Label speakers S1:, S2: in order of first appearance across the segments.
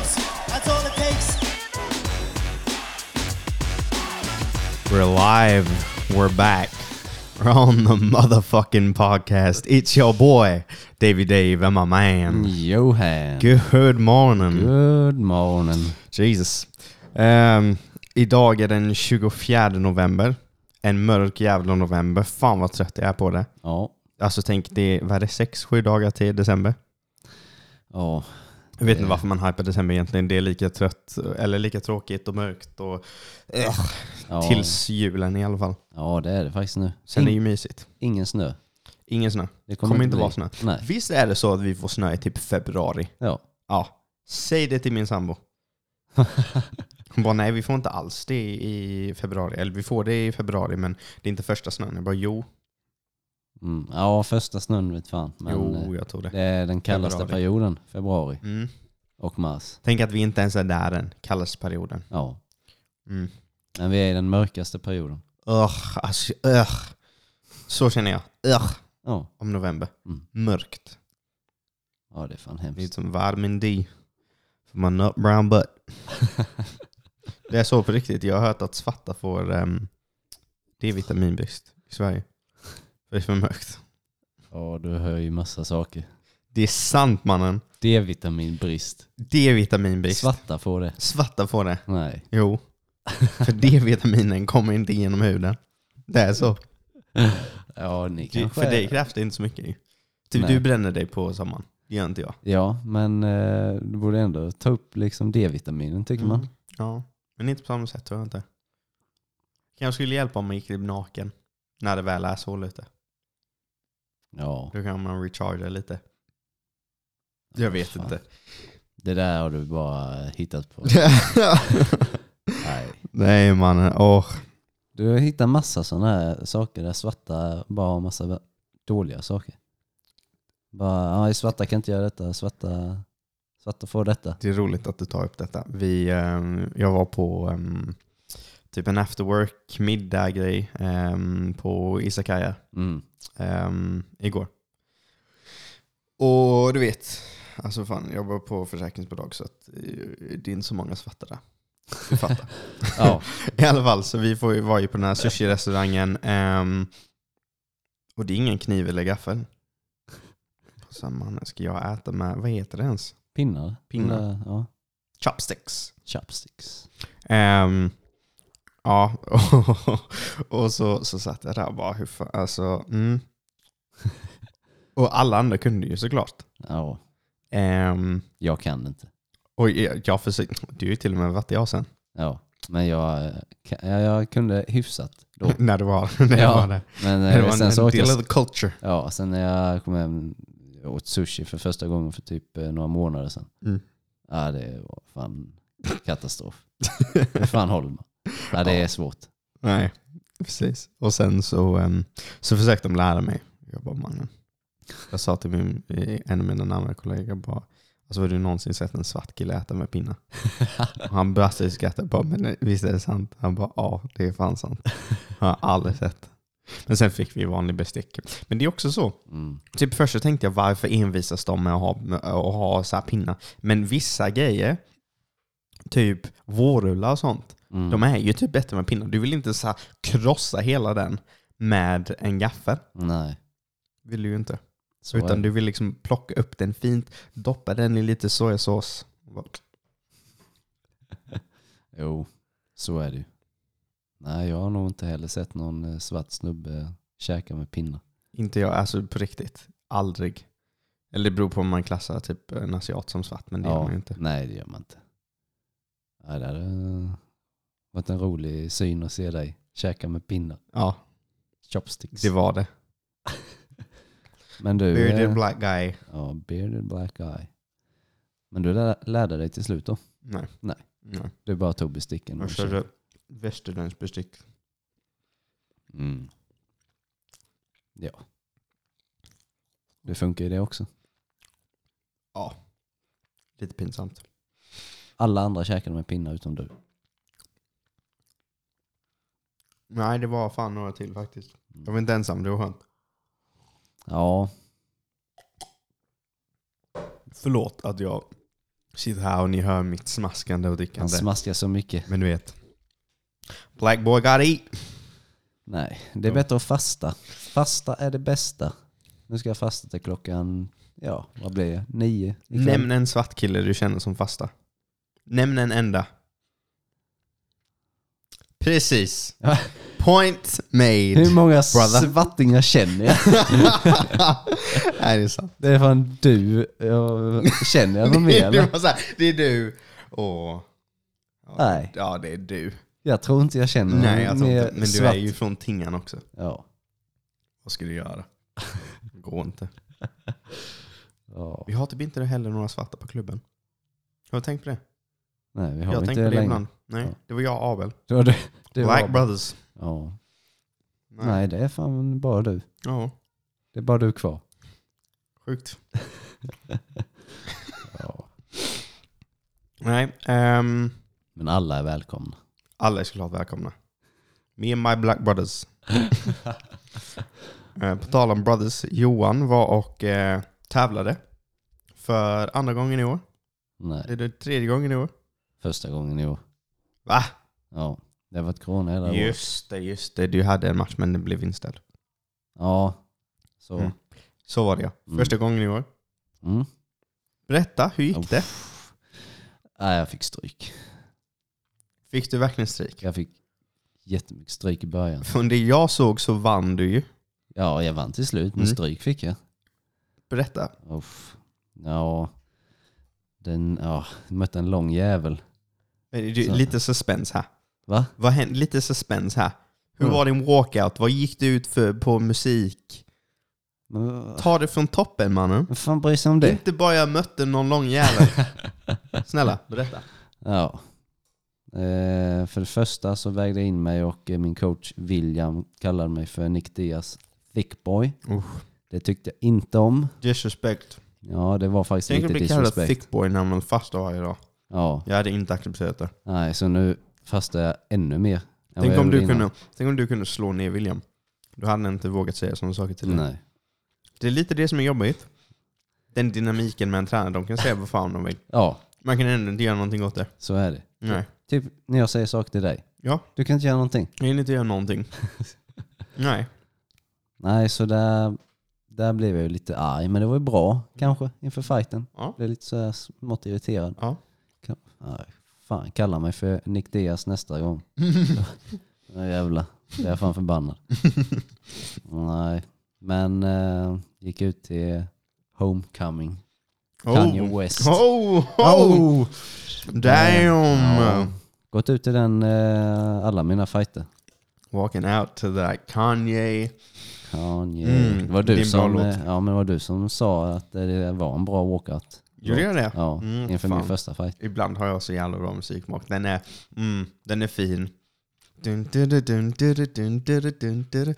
S1: that's all it takes.
S2: We're live. We're back. We're on the motherfucking podcast. It's your boy, Davy Dave, and my man.
S3: Johan.
S2: Good morning.
S3: Good morning.
S2: Jesus. Ehm, idag är den 24 november. En mörk jävla november. Fan vad trött jag är på det.
S3: Ja.
S2: Alltså tänk, det är, vad är det, 6-7 dagar till december?
S3: Ja.
S2: Jag vet inte varför man hypar december egentligen. Det är lika trött, eller lika tråkigt och mörkt och eh,
S3: ja.
S2: tills julen i alla fall.
S3: Ja, det är det faktiskt nu.
S2: Sen är det
S3: In-
S2: ju mysigt.
S3: Ingen snö.
S2: Ingen snö.
S3: Det
S2: Kommer, inte vara
S3: bli.
S2: snö.
S3: Nej.
S2: Visst är det så att vi får snö i typ februari?
S3: Ja.
S2: Ja. Säg det till min sambo. Hon bara, nej vi får inte alls det i februari. Eller vi får det i februari men det är inte första snön. Jag bara, jo.
S3: Mm. Ja, första snön vet fan. Men eh,
S2: jo, jag tror det.
S3: det är den kallaste
S2: Februari.
S3: perioden. Februari
S2: Mm.
S3: och mars.
S2: Tänk att vi inte ens är där än, kallaste perioden.
S3: Ja.
S2: Mm.
S3: Men vi är i den mörkaste perioden.
S2: Ugh, alltså, ugh. Så känner jag. Ugh,
S3: Ja.
S2: om november.
S3: Mm.
S2: Mörkt.
S3: Ja, det är fan
S2: Det är
S3: hemskt.
S2: som vitamin D. För my nut brown butt. det är så på riktigt. Jag har hört att svarta får ehm, D-vitaminbrist i Sverige. För det är för mörkt.
S3: Ja, du hör ju massa saker.
S2: Det är sant mannen.
S3: D-vitaminbrist.
S2: D-vitaminbrist.
S3: Svarta får det.
S2: Svarta får det.
S3: Nej.
S2: Jo. För D-vitaminen kommer inte genom huden. Det är så.
S3: Ja, ni
S2: Det-
S3: kanske
S2: För
S3: är-
S2: dig krävs det inte så mycket. ju. Typ
S3: Nej.
S2: du bränner dig på sommaren. Det gör inte jag.
S3: Ja, men eh, du borde ändå ta upp liksom D-vitaminen tycker
S2: Mm.
S3: man.
S2: Ja. Men inte på samma sätt tror jag inte. Kanske skulle hjälpa om man gick typ naken. När det väl är så lite.
S3: Ja,
S2: Då kan man recharga lite. Jag vet
S3: Fan.
S2: inte.
S3: det där har du bara hittat på. Nej.
S2: Nej mannen, åh.
S3: Du har hittat massa sådana här saker där svarta bara har massa vä- dåliga saker. Bara, ja, svarta kan inte göra detta, svarta, svarta får detta.
S2: Det är roligt att du tar upp detta. Vi, ehm, jag var på ehm, typ en after work middag grej ehm, på Isakaya
S3: Mm.
S2: ehm, igår. Och du vet, alltså fan, jag jobbar på försäkringsbolag så att eh, det är inte så många svarta där. Du fattar.
S3: Ja,
S2: I alla fall, så vi får ju, var ju på den här sushi-restaurangen. ehm, och det är ingen kniv eller gaffel. Och sen man, ska jag äta med, vad heter det ens?
S3: pinnar.
S2: Pinnar.
S3: Eller, Ja,
S2: Chopsticks.
S3: chopsticks.
S2: Ehm, ja, och så, så satt jag där och bara, hur fan, alltså, mm. Och alla andra kunde ju såklart.
S3: Ja,
S2: Um,
S3: jag kan inte.
S2: och jag, jag försökte, du har ju till och med varit i Asien.
S3: Ja, men jag, eh, ka- ja, jag kunde hyfsat då.
S2: när du var, när jag
S3: Ja,
S2: var där.
S3: Men
S2: Det
S3: eh,
S2: var en
S3: sen så åt
S2: del
S3: jag
S2: of the culture.
S3: Ja, sen när jag kom hem jag åt sushi för första gången för typ eh, några månader sedan.
S2: Mm.
S3: Ja, det var fan katastrof. Hur fan håller man? Ja, det är svårt.
S2: Nej, precis. Och sen så, ehm, så försökte de lära mig. Jag bara, mannen. Jag sa till min, eh, en av mina närmare kollegor, bara, alltså, har du någonsin sett en svart kille äta med pinnar? Och han brast i skratt. Jag bara, men visst är det sant? Han bara, ja det är fan sant. Han har aldrig sett. Men sen fick vi vanlig bestick. Men det är också så.
S3: Mm.
S2: Typ först så tänkte jag varför envisas de med att ha, med att ha så här pinnar? Men vissa grejer, typ vårrullar och sånt,
S3: Mm.
S2: de är ju typ bättre med pinnar. Du vill inte så här krossa hela den med en gaffel.
S3: Nej.
S2: Vill du ju inte.
S3: Så är
S2: Utan
S3: det.
S2: du vill liksom plocka upp den fint, doppa den i lite sojasås.
S3: Jo, så är det ju. Nej, jag har nog inte heller sett någon eh, svart snubbe käka med pinnar.
S2: Inte jag, alltså på riktigt. Aldrig. Eller det beror på om man klassar typ en asiat som svart, men det gör man ju inte.
S3: Nej, det gör man inte. Ja, det hade eh, varit en rolig syn att se dig käka med pinnar.
S2: Ja,
S3: Chopsticks.
S2: det var det.
S3: Men du, eh,
S2: Bearded black guy.
S3: Ja, bearded black eye. Men du lär- lärde dig till slut då?
S2: Nej.
S3: Nej. Mm,
S2: Nej.
S3: Du bara tog besticken? och
S2: Jag körde västerländskt bestick.
S3: Mm. Ja. Det funkar ju det också.
S2: Lite pinsamt.
S3: Alla andra käkade med pinnar utom du.
S2: Nej, det var fan några till faktiskt. Jag var inte ensam, det var skönt.
S3: Ja,
S2: Förlåt att jag Sitter här och ni hör mitt smaskande och
S3: Han
S2: drickande.
S3: smaskar så mycket.
S2: Men du vet. Black boy got eat.
S3: Nej, det är
S2: Ja.
S3: bättre att fasta. Fasta är det bästa. Nu ska jag fasta till klockan, ja vad blir det? Nio? ikväll.
S2: Nämn en svart kille du känner som fasta. Nämn en enda. Precis. Point
S3: Hur
S2: made.
S3: många
S2: brother.
S3: svattingar känner jag?
S2: Nej, det är sant.
S3: Det är fan du. Jag känner jag någon mer
S2: Det
S3: eller?
S2: var så här, det är du och...
S3: Nej,
S2: Ja, det är du.
S3: jag tror inte jag känner någon
S2: Nej, jag tror
S3: mer
S2: inte. Men du
S3: svart.
S2: är ju från Tingan också.
S3: Ja.
S2: Vad ska du göra? Det går inte.
S3: ja.
S2: Vi har typ inte heller några svarta på klubben. Har du tänkt på det?
S3: Nej, vi har
S2: jag har
S3: inte
S2: tänkt på det
S3: det längre.
S2: ibland. Nej,
S3: Ja.
S2: det var jag och Abel.
S3: Det var du, du
S2: Black
S3: var-
S2: brothers.
S3: Ja.
S2: Nej.
S3: Nej, det är fan bara du.
S2: Ja,
S3: Det är bara du kvar.
S2: sjukt.
S3: Ja.
S2: Nej, ehm...
S3: Men alla är välkomna.
S2: Alla är såklart välkomna. Me and my black brothers. Eh, På tal om brothers, Johan var och eh, tävlade för andra gången i år. Det
S3: Nej,
S2: är det tredje gången i år.
S3: första gången i år.
S2: Va?
S3: Ja, det har varit corona hela året.
S2: Just det, just det. Du hade en match men den blev inställd.
S3: Ja, så.
S2: Mm. Så var det ja.
S3: Mm.
S2: Första gången i år.
S3: Mm.
S2: Berätta, hur gick det?
S3: Uff. Nej, jag fick stryk.
S2: Fick du verkligen stryk?
S3: Jag fick jättemycket stryk i början.
S2: Från det jag såg så vann du ju.
S3: Ja, jag vann till slut, men
S2: Mm.
S3: stryk fick jag.
S2: Berätta. Eh,
S3: Uff. Ja, den, ja, jag mötte en lång jävel.
S2: Eh, du-
S3: Så.
S2: Lite suspens här.
S3: Va?
S2: Vad hände? Lite suspens här. Hur
S3: Mm.
S2: var din walkout? Vad gick du ut för på musik?
S3: Men,
S2: Ta det från toppen mannen.
S3: Vad fan bryr sig om det?
S2: Inte bara jag mötte någon lång jävel. Snälla, berätta.
S3: Ja. Eh, för det första så vägde jag in mig och eh, min coach William kallade mig för Nick Diaz thick boy.
S2: Usch.
S3: Det tyckte jag inte om.
S2: Disrespect.
S3: Ja, det var faktiskt
S2: Tänk att
S3: lite
S2: bli kallad
S3: disrespect.
S2: thick boy när man fastar varje dag.
S3: Ja,
S2: Jag hade inte accepterat det.
S3: nej, så nu fastar jag ännu mer. än vad
S2: Tänk
S3: jag
S2: om, du
S3: gjorde innan.
S2: kunde, tänk om du kunde slå ner William. Då hade han inte vågat säga sådana saker till dig.
S3: Nej.
S2: Det är lite det som är jobbigt. Den dynamiken med en tränare. De kan säga vad fan de vill.
S3: Ja,
S2: Man kan ändå inte göra någonting åt det.
S3: så är det.
S2: Nej.
S3: Typ när jag säger saker till dig.
S2: Ja.
S3: Du kan inte göra någonting.
S2: Jag hinner inte göra någonting. Nej.
S3: Nej, så där, där blev jag ju lite arg. Men det var ju bra kanske inför fighten.
S2: Ja.
S3: Blev lite så här smått irriterad.
S2: Ja.
S3: Nej, fan, kalla mig för Nick Diaz nästa gång. Ja, jävlar, det är jag fan förbannad. Nej, men eh, gick ut till Homecoming, Kanye West.
S2: Oh, oh.
S3: Oh!
S2: Damn!
S3: Ja. Gått ut till den, eh, alla mina fighter.
S2: Walking out to that Kanye.
S3: Kanye.
S2: Mm,
S3: det var
S2: det är
S3: du
S2: en bra
S3: som,
S2: låt.
S3: eh, ja, men det var du som sa att det var en bra walkout.
S2: Gjorde jag det?
S3: Ja,
S2: Mm,
S3: inför
S2: fan.
S3: min första fight.
S2: Ibland har jag så jävla bra musiksmak. Den är, mm, den är fin. Dun, dun, dun, dun, dun, dun, dun, dun, dun.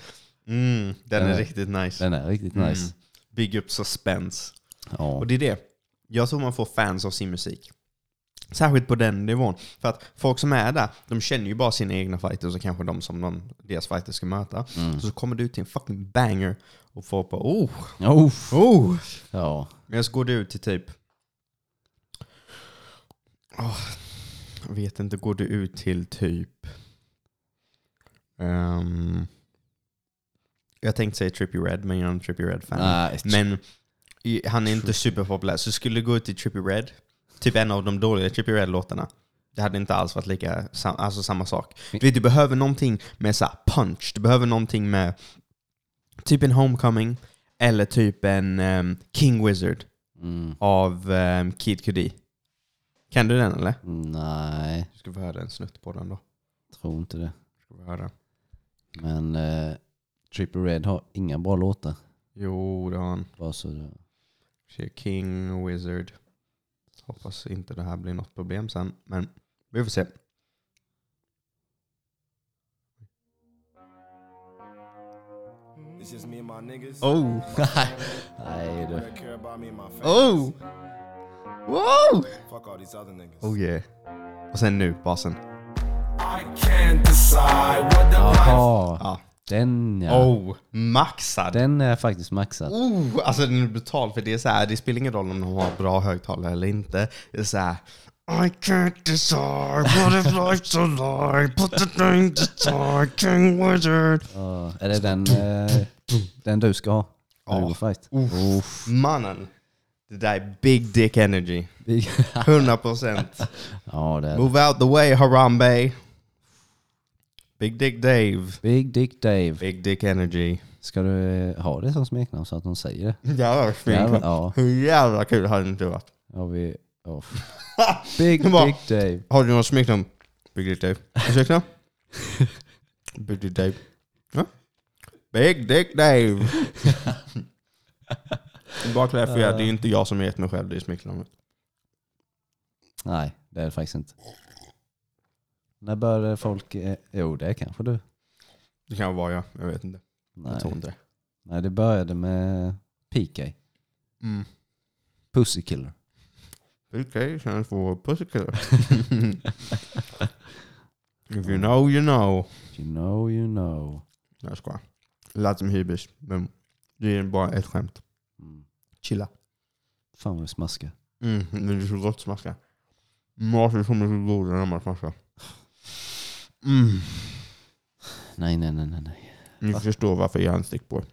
S2: Mm, den är
S3: Den är-
S2: riktigt nice.
S3: Den är riktigt
S2: Mm.
S3: nice.
S2: Bygg upp suspense.
S3: Ja.
S2: Och det är det. Jag tror man får fans av sin musik. Särskilt på den nivån. För att folk som är där, de känner ju bara sina egna fighters och kanske de som de, deras fighters ska möta.
S3: Mm.
S2: Så kommer du till en fucking banger och folk bara oh,
S3: Oh,
S2: oh.
S3: ja.
S2: Men så går du ut till typ... Åh, jag vet inte, går du ut till typ... Ehm, jag tänkte säga Trippy Red, men jag är en Trippy Red-fan.
S3: Nej,
S2: Men i- han är inte superpopulär, så skulle du gå ut till Trippy Red, typ en av de dåliga Trippy Red-låtarna, det hade inte alls varit lika, sam- alltså samma sak. Du, vet, du behöver någonting med så här punch, du behöver någonting med typ en Homecoming, eller typ en ehm, King Wizard
S3: Mm.
S2: av ehm, Kid Cudi. Kan du den eller?
S3: Nej,
S2: Du ska få höra en snutt på den då.
S3: tror inte det.
S2: Ska få höra.
S3: Men eh, Triple Red har inga bra låtar.
S2: Jo, det har han.
S3: Bara så du...
S2: Ser King, Wizard. Hoppas inte det här blir något problem sen, men vi får se.
S1: It's just me and my niggas.
S2: Oh!
S3: Nej du.
S1: Don't care about me and my fans.
S2: Oh! Wow!
S1: Fuck all these other niggas.
S2: Oh yeah. Och sen nu, basen.
S1: I can't decide what the
S3: Jaha.
S2: Ja,
S3: Den ja.
S2: Oh, maxad!
S3: Den är faktiskt maxad.
S2: Oh, alltså den är brutal för det är så här, det spelar ingen roll om de har bra högtalare eller inte. Det är så här. I can't decide what if life's a lie, but the thing to die, king wizard.
S3: Ja, är det den, eh, den du ska ha?
S2: Ja.
S3: Hugo Fight.
S2: Uff. Mannen, det där är big dick energy. 100%.
S3: ja, det är det.
S2: Move out the way Harambe. Big dick Dave.
S3: Big Dick Dave.
S2: Big dick energy.
S3: Ska du eh, ha det som smeknamn så att de säger det?
S2: Jävlar vad
S3: Jävlar,
S2: fint.
S3: Ja,
S2: Hur jävla kul hade det inte varit?
S3: har vi... ja. Big
S2: Det var-
S3: Dick Dave.
S2: Har du något smeknamn? Big Dick Dave. Ursäkta? Big Dick Dave. Ja? Big Dick Dave. Bara klarifiera, det är ju inte jag som har gett mig själv det smeknamnet.
S3: Nej, det är det faktiskt inte. När började folk... eh, Jo, det är kanske du.
S2: Det kan vara jag, jag vet inte. Jag
S3: Nej,
S2: tror inte det.
S3: Nej det började med PK.
S2: Mm.
S3: Pussykiller.
S2: Big Dick känns för pussycutter. If you know, you know.
S3: You know, you know.
S2: Nej, jag skojar. Det lät som hybris, men det är bara ett skämt.
S3: Mm.
S2: Chilla.
S3: Fan vad vi smaskar.
S2: Mm, men det är så gott smaska. Maten kommer så god när man smaskar. Mm.
S3: Nej, nej, nej, nej, nej.
S2: Ni
S3: Va?
S2: förstår varför jag är en stickboy.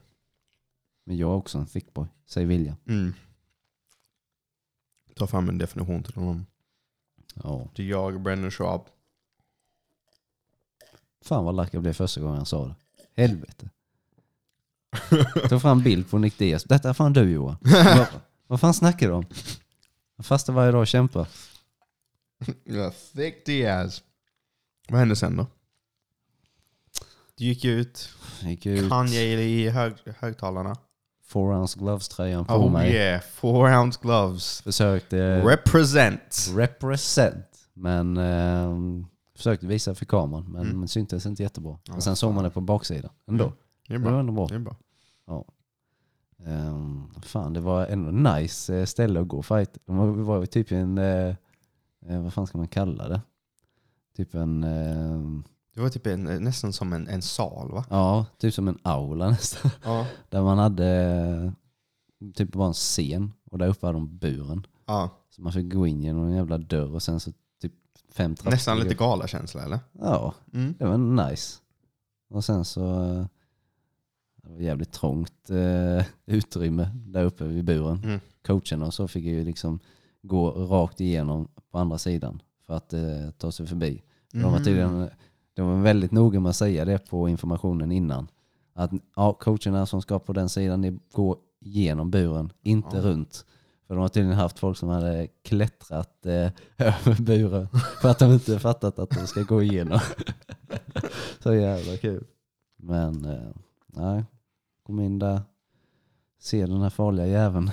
S3: Men jag är också en thickboy, säger William.
S2: Mm. Ta fram en definition till honom.
S3: Ja.
S2: Till jag, Brennan Sharp.
S3: Fan vad lack jag blev första gången jag sa det. Helvete. Tog fram bild på Nick Diaz. Detta är fan du Johan. Jag bara, vad fan snackar du om? Jag fastar varje dag och kämpar.
S2: Ja, thick Diaz. Vad hände sen då? Du gick ut.
S3: Jag gick ut,
S2: Kanye i hög, högtalarna.
S3: four ounce gloves-tröjan på
S2: Oh
S3: mig.
S2: yeah, four ounce gloves.
S3: Försökte
S2: Represent.
S3: represent. Men ehm, försökte visa för kameran. Men syntes inte jättebra.
S2: Mm. Ja,
S3: Men sen såg man det på baksidan ändå.
S2: Mm. Det är
S3: Det var
S2: bra.
S3: ändå bra.
S2: Det är bra.
S3: Ehm, fan, det var ändå nice eh, ställe att gå och fight. De var- Vi var ju typ i en, eh, eh, vad fan ska man kalla det? Typ en, eh,
S2: Det var typ en, nästan som en, en sal va?
S3: ja, typ som en aula nästan.
S2: Ja.
S3: Där man hade eh, typ bara en scen och där uppe hade de buren.
S2: ja.
S3: Så man fick gå in genom en jävla dörr och sen så typ fem trappor.
S2: Nästan lite galakänsla eller?
S3: Ja,
S2: Mm.
S3: det var nice. Och sen så, eh, det var jävligt trångt eh, utrymme där uppe vid buren.
S2: Mm.
S3: Coachen och så fick ju liksom gå rakt igenom på andra sidan för att eh, ta sig förbi. De var
S2: Mm.
S3: tydligen, de var väldigt noga med att säga det på informationen innan. Att ja, coacherna som ska på den sidan, ni går genom buren, inte
S2: Ja.
S3: runt. För de har tydligen haft folk som hade klättrat eh, över buren för att de inte fattat att de ska gå igenom. Så jävla kul. Men eh, nej, kom in där, se den här farliga jäveln.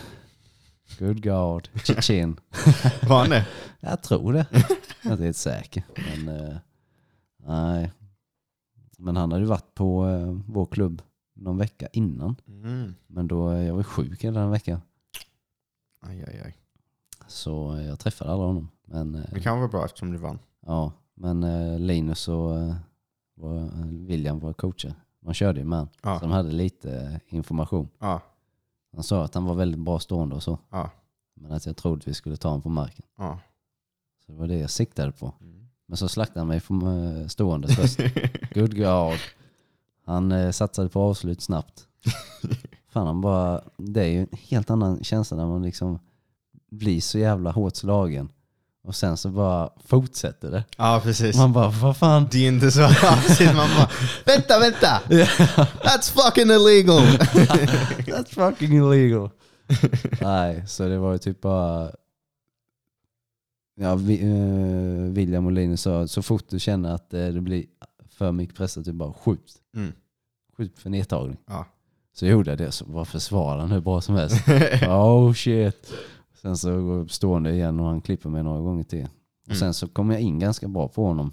S3: Good God, Tjetjen.
S2: Var han det?
S3: Jag tror det. Jag är inte helt säker. Men, eh, nej. men han hade ju varit på eh, vår klubb någon vecka innan.
S2: Mm.
S3: Men då eh, jag var sjuk hela den veckan.
S2: Aj, aj, aj.
S3: Så eh, jag träffade aldrig honom. Men, eh,
S2: Det kan vara bra eftersom du vann.
S3: ja, men eh, Linus och eh, var, William var coacher. De körde ju med han.
S2: Ja.
S3: Så de hade lite eh, information.
S2: Ja.
S3: Han sa att han var väldigt bra stående och så.
S2: Ja.
S3: Men att jag trodde vi skulle ta honom på marken.
S2: ja.
S3: Så det var det jag siktade på. Men så slaktade han mig på, eh, stående först. Good God. Han eh, satsade på avslut snabbt. Fan, han bara, det är ju en helt annan känsla när man liksom blir så jävla hårt slagen och sen så bara fortsätter det.
S2: ja, precis.
S3: Man bara, vad fan?
S2: Det är inte så. Ja, precis. Man bara, vänta, vänta! That's fucking illegal!
S3: That's fucking illegal. Nej, så det var ju typ bara... Ja, vi, eh, William och Linus sa så fort du känner att eh, det blir för mycket press, att du bara skjut.
S2: Mm.
S3: Skjut för nedtagning.
S2: Ja.
S3: Så gjorde jag det, så bara försvarade han hur bra som helst. oh shit. Sen så går jag stående igen och han klipper mig några gånger till. Och
S2: Mm.
S3: sen så kom jag in ganska bra på honom.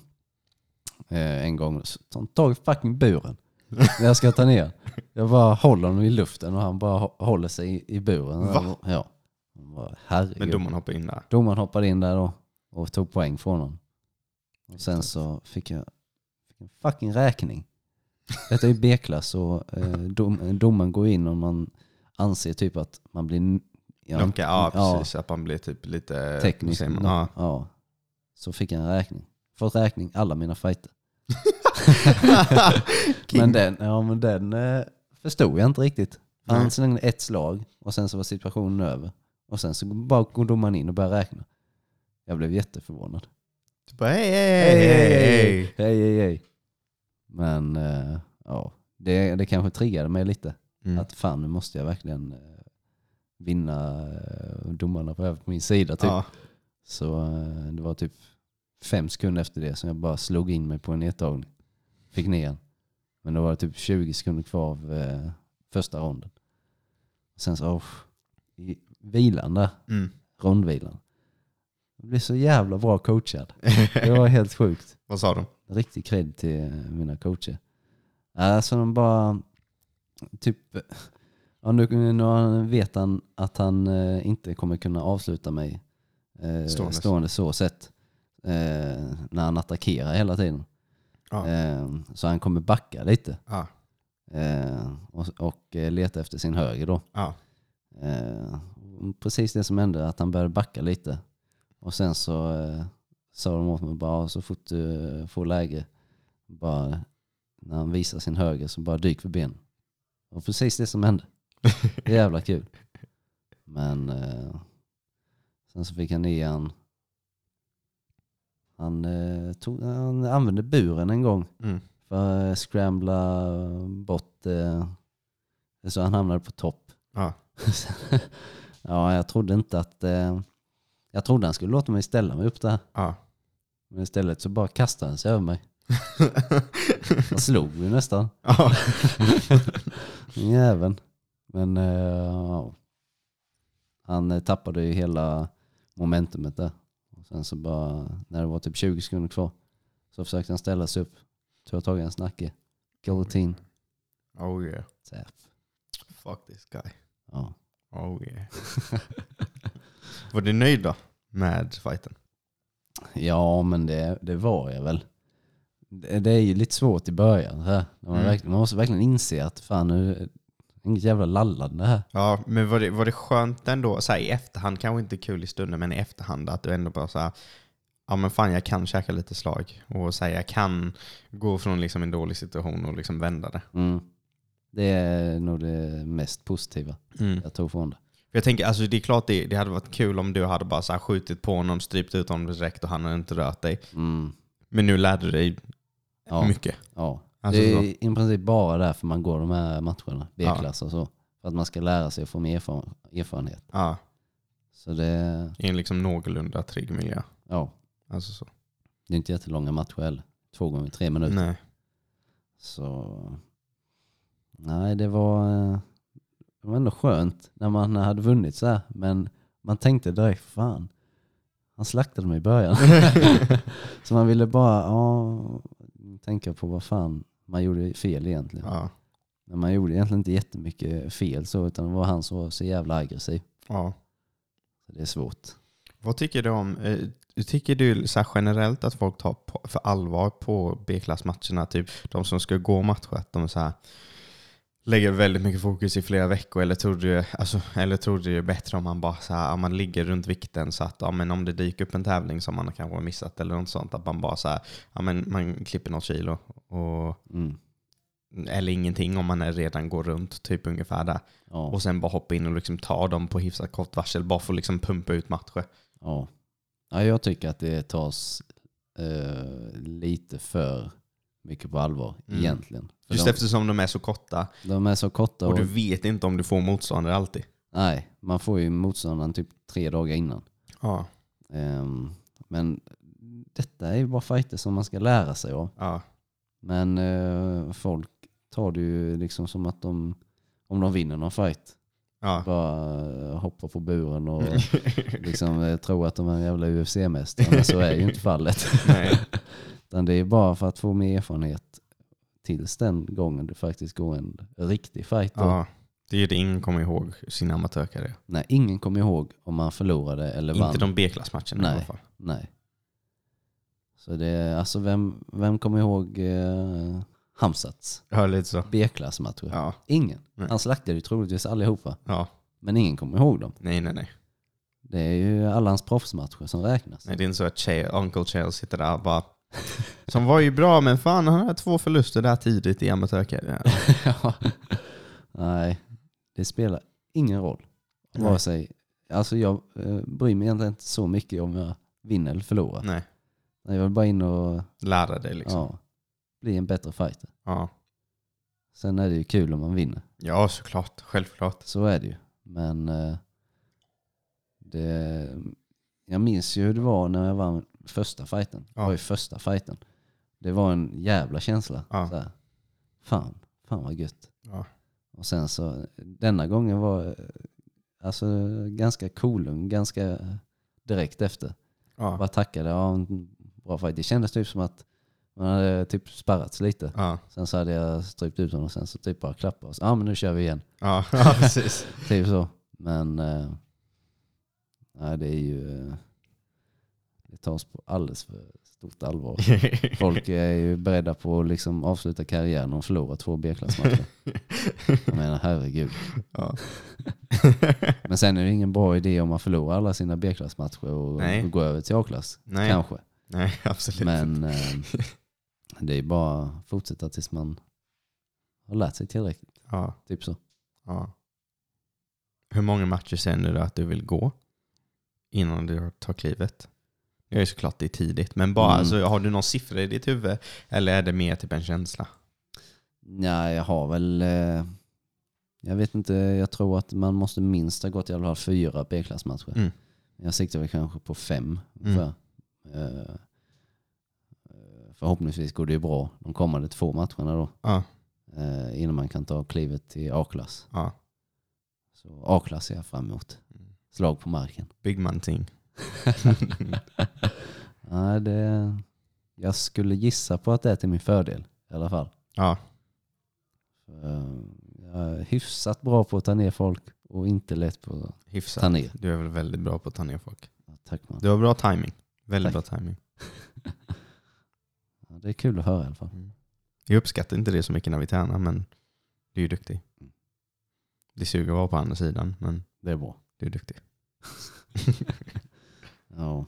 S3: Eh, en gång. Så tar han tag i fucking buren. När jag ska ta ner. Jag bara håller honom i luften och han bara hå- håller sig i, i buren.
S2: Va?
S3: Ja. Han Bara, herregud.
S2: Men domaren hoppar in där.
S3: Domaren hoppade in där då och tog poäng från honom. Och sen så fick jag fick en fucking räkning. Detta är ju B-klass och eh, dom, domen går in om man anser typ att man blir... Ja,
S2: De kan, ja, precis. Att man blir typ lite...
S3: Tekniskt.
S2: säger man,
S3: knock-
S2: ja.
S3: ja. Så fick jag en räkning. Fått räkning alla mina fighter. men den, ja, men den eh, förstod jag inte riktigt. Han
S2: Nej.
S3: slängde ett slag och sen så var situationen över. Och sen så bara går domaren in och börjar räkna. Jag blev jätteförvånad.
S2: Typ bara, hej, hej, hej, hej.
S3: hej, hej, hej. Men eh, ja, det, det kanske triggade mig lite.
S2: Mm.
S3: Att fan, nu måste jag verkligen eh, vinna eh, domarna på över på min sida. Typ.
S2: Ja.
S3: Så eh, det var typ fem sekunder efter det som jag bara slog in mig på en nedtagning. Fick ner den. Men då var det typ 20 sekunder kvar av eh, första ronden. Sen så, oh, i vilan där,
S2: Mm.
S3: rondvilan. Jag blev så jävla bra coachad. Det var helt sjukt.
S2: Vad sa de?
S3: Riktig cred till eh, mina coacher. Alltså de bara, typ, ja, nu, nu vet han att han eh, inte kommer kunna avsluta mig eh,
S2: Stående.
S3: stående. så sett eh, när han attackerar hela tiden.
S2: Ja.
S3: Eh, så han kommer backa lite
S2: Ja.
S3: eh, och, och eh, leta efter sin höger då.
S2: Ja.
S3: Eh, precis det som hände, att han började backa lite. Och sen så eh, sa de åt mig bara, så fort du eh, får läge, bara, när han visar sin höger så bara dyk för benen. Och precis det som hände. Det är jävla kul. Men eh, sen så fick han ner han. Han, eh, tog, han använde buren en gång
S2: Mm.
S3: för att scrambla bort. Eh, så han hamnade på topp.
S2: Ja.
S3: ja, jag trodde inte att... Eh, jag trodde han skulle låta mig ställa mig upp där.
S2: Ja.
S3: Men istället så bara kastade han sig över mig. Han slog ju nästan.
S2: ja.
S3: Den Jäveln. Men eh, ja. han eh, tappade ju hela momentumet där. Och sen så bara, när det var typ 20 sekunder kvar, så försökte han ställa sig upp. Tog tag i hans nacke. Guillotine.
S2: Oh yeah.
S3: Tap.
S2: Fuck this guy.
S3: Ja.
S2: Oh yeah. Var du nöjd då med fighten?
S3: Ja, men det, det var jag väl. Det, det är ju lite svårt i början. Här. När Man,
S2: Mm.
S3: verkligen, man måste verkligen inse att fan, nu, inget jävla lallande här.
S2: Ja, men var det, var det skönt ändå, så här, i efterhand, kanske inte kul i stunden, men i efterhand att du ändå bara så här, ja men fan jag kan käka lite slag och så här, jag kan gå från liksom en dålig situation och liksom vända det.
S3: Mm. Det är nog det mest positiva jag tog från det.
S2: För Jag tänker, alltså det är klart det, det hade varit kul om du hade bara så här, skjutit på honom, strypt ut honom direkt och han hade inte rört dig.
S3: Mm.
S2: Men nu lärde du dig
S3: Ja,
S2: mycket.
S3: ja.
S2: Alltså
S3: det
S2: så.
S3: är i princip bara därför man går de här matcherna, B-klass och så. För att man ska lära sig och få mer erfar- erfarenhet.
S2: Ja,
S3: Så det,
S2: I en liksom någorlunda trygg miljö.
S3: ja,
S2: Alltså så.
S3: det är inte jättelånga matcher heller. Två gånger tre minuter.
S2: Nej.
S3: Så nej, det var, eh, det var ändå skönt när man hade vunnit så här. Men man tänkte direkt, fan, han slaktade mig i början. så man ville bara ja, tänka på vad fan man gjorde fel egentligen.
S2: Ja.
S3: Men man gjorde egentligen inte jättemycket fel så, utan det var han som var så jävla aggressiv.
S2: ja.
S3: Så det är svårt.
S2: Vad tycker du om, eh, tycker du så här generellt att folk tar på, för allvar på B-klassmatcherna? Typ de som ska gå matcher, att de så här lägger väldigt mycket fokus i flera veckor eller tror du, alltså, eller tror du det är bättre om man bara så här, om man ligger runt vikten så att ja, men om det dyker upp en tävling som man kanske har missat eller något sånt att man bara så här, ja, men man klipper något kilo och,
S3: Mm.
S2: eller ingenting om man är redan går runt typ ungefär där
S3: Ja,
S2: och sen bara hoppa in och liksom ta dem på hyfsat kort varsel bara för att liksom pumpa ut matcher.
S3: ja. ja, jag tycker att det tas eh, lite för mycket på allvar
S2: Mm.
S3: egentligen. För
S2: Just
S3: de,
S2: eftersom de är så korta
S3: de är så korta
S2: och
S3: och,
S2: du vet inte om du får motståndare alltid.
S3: nej, man får ju motståndaren typ tre dagar innan.
S2: Ja.
S3: Ehm, men detta är ju bara fighter som man ska lära sig av.
S2: ja.
S3: Men eh, folk tar det ju liksom som att de, om de vinner någon fight,
S2: ja.
S3: bara eh, hoppar på buren och eh, liksom eh, tror att de är jävla UFC-mästare. Men så är ju inte fallet.
S2: Nej.
S3: Utan det är bara för att få mer erfarenhet tills den gången det faktiskt går en riktig fight. då.
S2: ja. Det är ju det ingen kommer ihåg sin amatörkarriär.
S3: Nej, ingen kommer ihåg om man förlorade eller vann.
S2: Inte de B-klassmatcherna i
S3: Nej.
S2: alla fall.
S3: Nej. Så det, alltså vem, vem kommer ihåg eh, Hamsats.
S2: Ja, lite så.
S3: B-klassmatcher.
S2: Ja,
S3: Ingen.
S2: Nej.
S3: Han slaktade ju troligtvis allihopa.
S2: ja.
S3: Men ingen kommer ihåg dem.
S2: Nej, nej, nej.
S3: Det är ju alla hans proffsmatcher som räknas.
S2: nej det är inte så att Ch- Uncle Charles sitter där och bara som var ju bra, men fan han hade två förluster där tidigt i amatörkarriären.
S3: Ja. Nej, det spelar ingen roll.
S2: Nej.
S3: Vare sig, alltså jag eh, bryr mig egentligen inte så mycket om jag vinner eller förlorar.
S2: Nej,
S3: Jag vill bara in och
S2: lära dig liksom.
S3: ja, bli en bättre fighter.
S2: Ja.
S3: Sen är det ju kul om man vinner.
S2: ja, såklart. Självklart.
S3: Så är det ju. Men eh, det, jag minns ju hur det var när jag vann första fighten.
S2: Ja.
S3: Det var ju första fighten. Det var en jävla känsla.
S2: Ja.
S3: Så här, fan, fan vad gött.
S2: Ja.
S3: Och sen så, denna gången var eh, alltså ganska cool, ganska direkt efter.
S2: Ja.
S3: Bara tackade, ja, en bra fight. Det kändes typ som att man hade typ sparrats lite.
S2: Ja.
S3: Sen så hade jag strypt ut honom och sen så typ bara klappade och så, ja ah, men nu kör vi igen.
S2: Ja. ja, precis.
S3: Typ så. Men eh, nej, det är ju... Eh, det tas på alldeles för stort allvar. Folk är ju beredda på att liksom avsluta karriären om de förlorar två B-klassmatcher. Jag menar herregud.
S2: Ja.
S3: Men sen är det ingen bra idé om man förlorar alla sina B-klassmatcher och,
S2: Nej.
S3: och går över till A-klass.
S2: Nej.
S3: Kanske.
S2: nej, absolut.
S3: Men eh, det är ju bara att fortsätta tills man har lärt sig tillräckligt.
S2: Ja.
S3: Typ så.
S2: Ja. Hur många matcher känner du att du vill gå innan du tar klivet? Jag är såklart det är tidigt, men bara,
S3: Mm.
S2: alltså, har du någon siffra i ditt huvud? Eller är det mer typ en känsla?
S3: Nej, jag har väl... Eh, jag vet inte, jag tror att man måste minst ha gått i alla fall fyra B-klassmatcher.
S2: Mm.
S3: Jag siktar väl kanske på fem
S2: Mm.
S3: ungefär. Eh, eh, förhoppningsvis går det ju bra de kommande två matcherna då.
S2: Ja,
S3: Eh, innan man kan ta klivet till A-klass.
S2: ja.
S3: Så A-klass är jag fram emot. Slag på marken.
S2: Big man ting.
S3: Nej, det, jag skulle gissa på att det är till min fördel i alla fall.
S2: Ja,
S3: Eh, jag är hyfsat bra på att ta ner folk och inte lätt på att
S2: hyfsat.
S3: ta ner.
S2: Du är väl väldigt bra på att ta ner folk.
S3: Ja, Tack man.
S2: Du har bra timing. Väldigt
S3: Tack.
S2: bra timing.
S3: Ja, det är kul att höra i alla fall.
S2: Mm. Jag uppskattar inte det så mycket när vi tränar, men du är ju duktig. Det suger att vara på andra sidan, men
S3: Det är bra.
S2: du är duktig.
S3: Ja.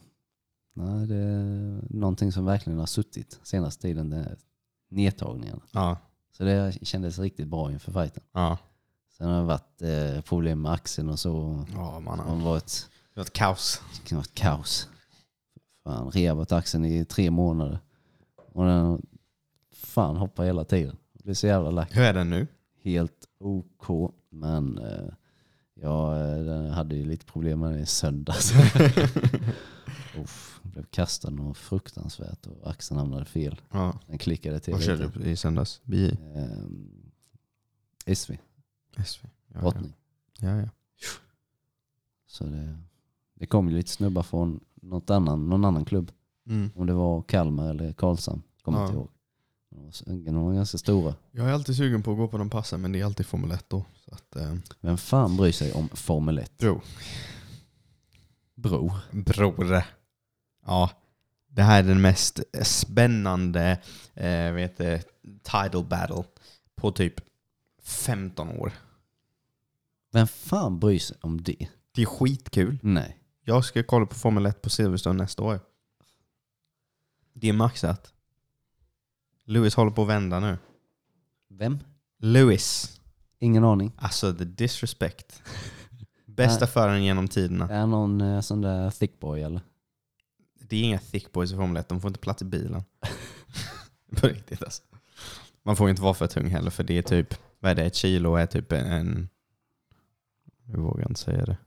S3: Nej, det är någonting som verkligen har suttit senaste tiden, det är nedtagningarna.
S2: Ja,
S3: Så det kändes riktigt bra inför fighten.
S2: ja.
S3: Sen har det varit eh, problem med axeln och så.
S2: Ja,
S3: Det
S2: man
S3: har
S2: har
S3: varit,
S2: det har varit kaos.
S3: det har varit kaos. Fan, rehabat axeln i tre månader. Och den fan hoppar hela tiden. Det blir så jävla lack.
S2: Hur är den nu?
S3: helt OK. Men eh, jag eh, den hade ju lite problem med den i söndags. Uff, blev kastad något fruktansvärt och axeln hamnade fel.
S2: Ja.
S3: Den klickade till
S2: Vad
S3: lite.
S2: körde du i söndags? Bi?
S3: Ehm, SV,
S2: SV? Ja, ja.
S3: brottning.
S2: ja, ja.
S3: Så det, det kom ju lite snubbar från något annan, någon annan klubb.
S2: Mm.
S3: Om det var Kalmar eller Karlshamn. Kommer
S2: Ja.
S3: inte ihåg. De var, så- de var ganska stora.
S2: Jag är alltid sugen på att gå på de passen, men det är alltid Formel 1 då. Så att, eh,
S3: Vem fan bryr sig om Formel 1?
S2: bro.
S3: Bro.
S2: Bror. Ja. Det här är den mest spännande eh, vet det, title battle på typ 15 år.
S3: Vem fan bryr sig om det?
S2: Det är skitkul.
S3: Nej.
S2: Jag ska kolla på Formel 1 på Silverstone nästa år. Det är maxat. Lewis håller på att vända nu.
S3: Vem?
S2: Lewis.
S3: Ingen aning.
S2: Alltså the disrespect. Bästa föraren genom tiderna.
S3: Det är någon eh, sån där thick boy eller?
S2: Det är inga thick boys i Formel 1, de får inte plats i bilen. På riktigt alltså. Man får ju inte vara för tung heller för det är typ, vad är det, ett kilo är typ en... Nu vågar jag inte säga det.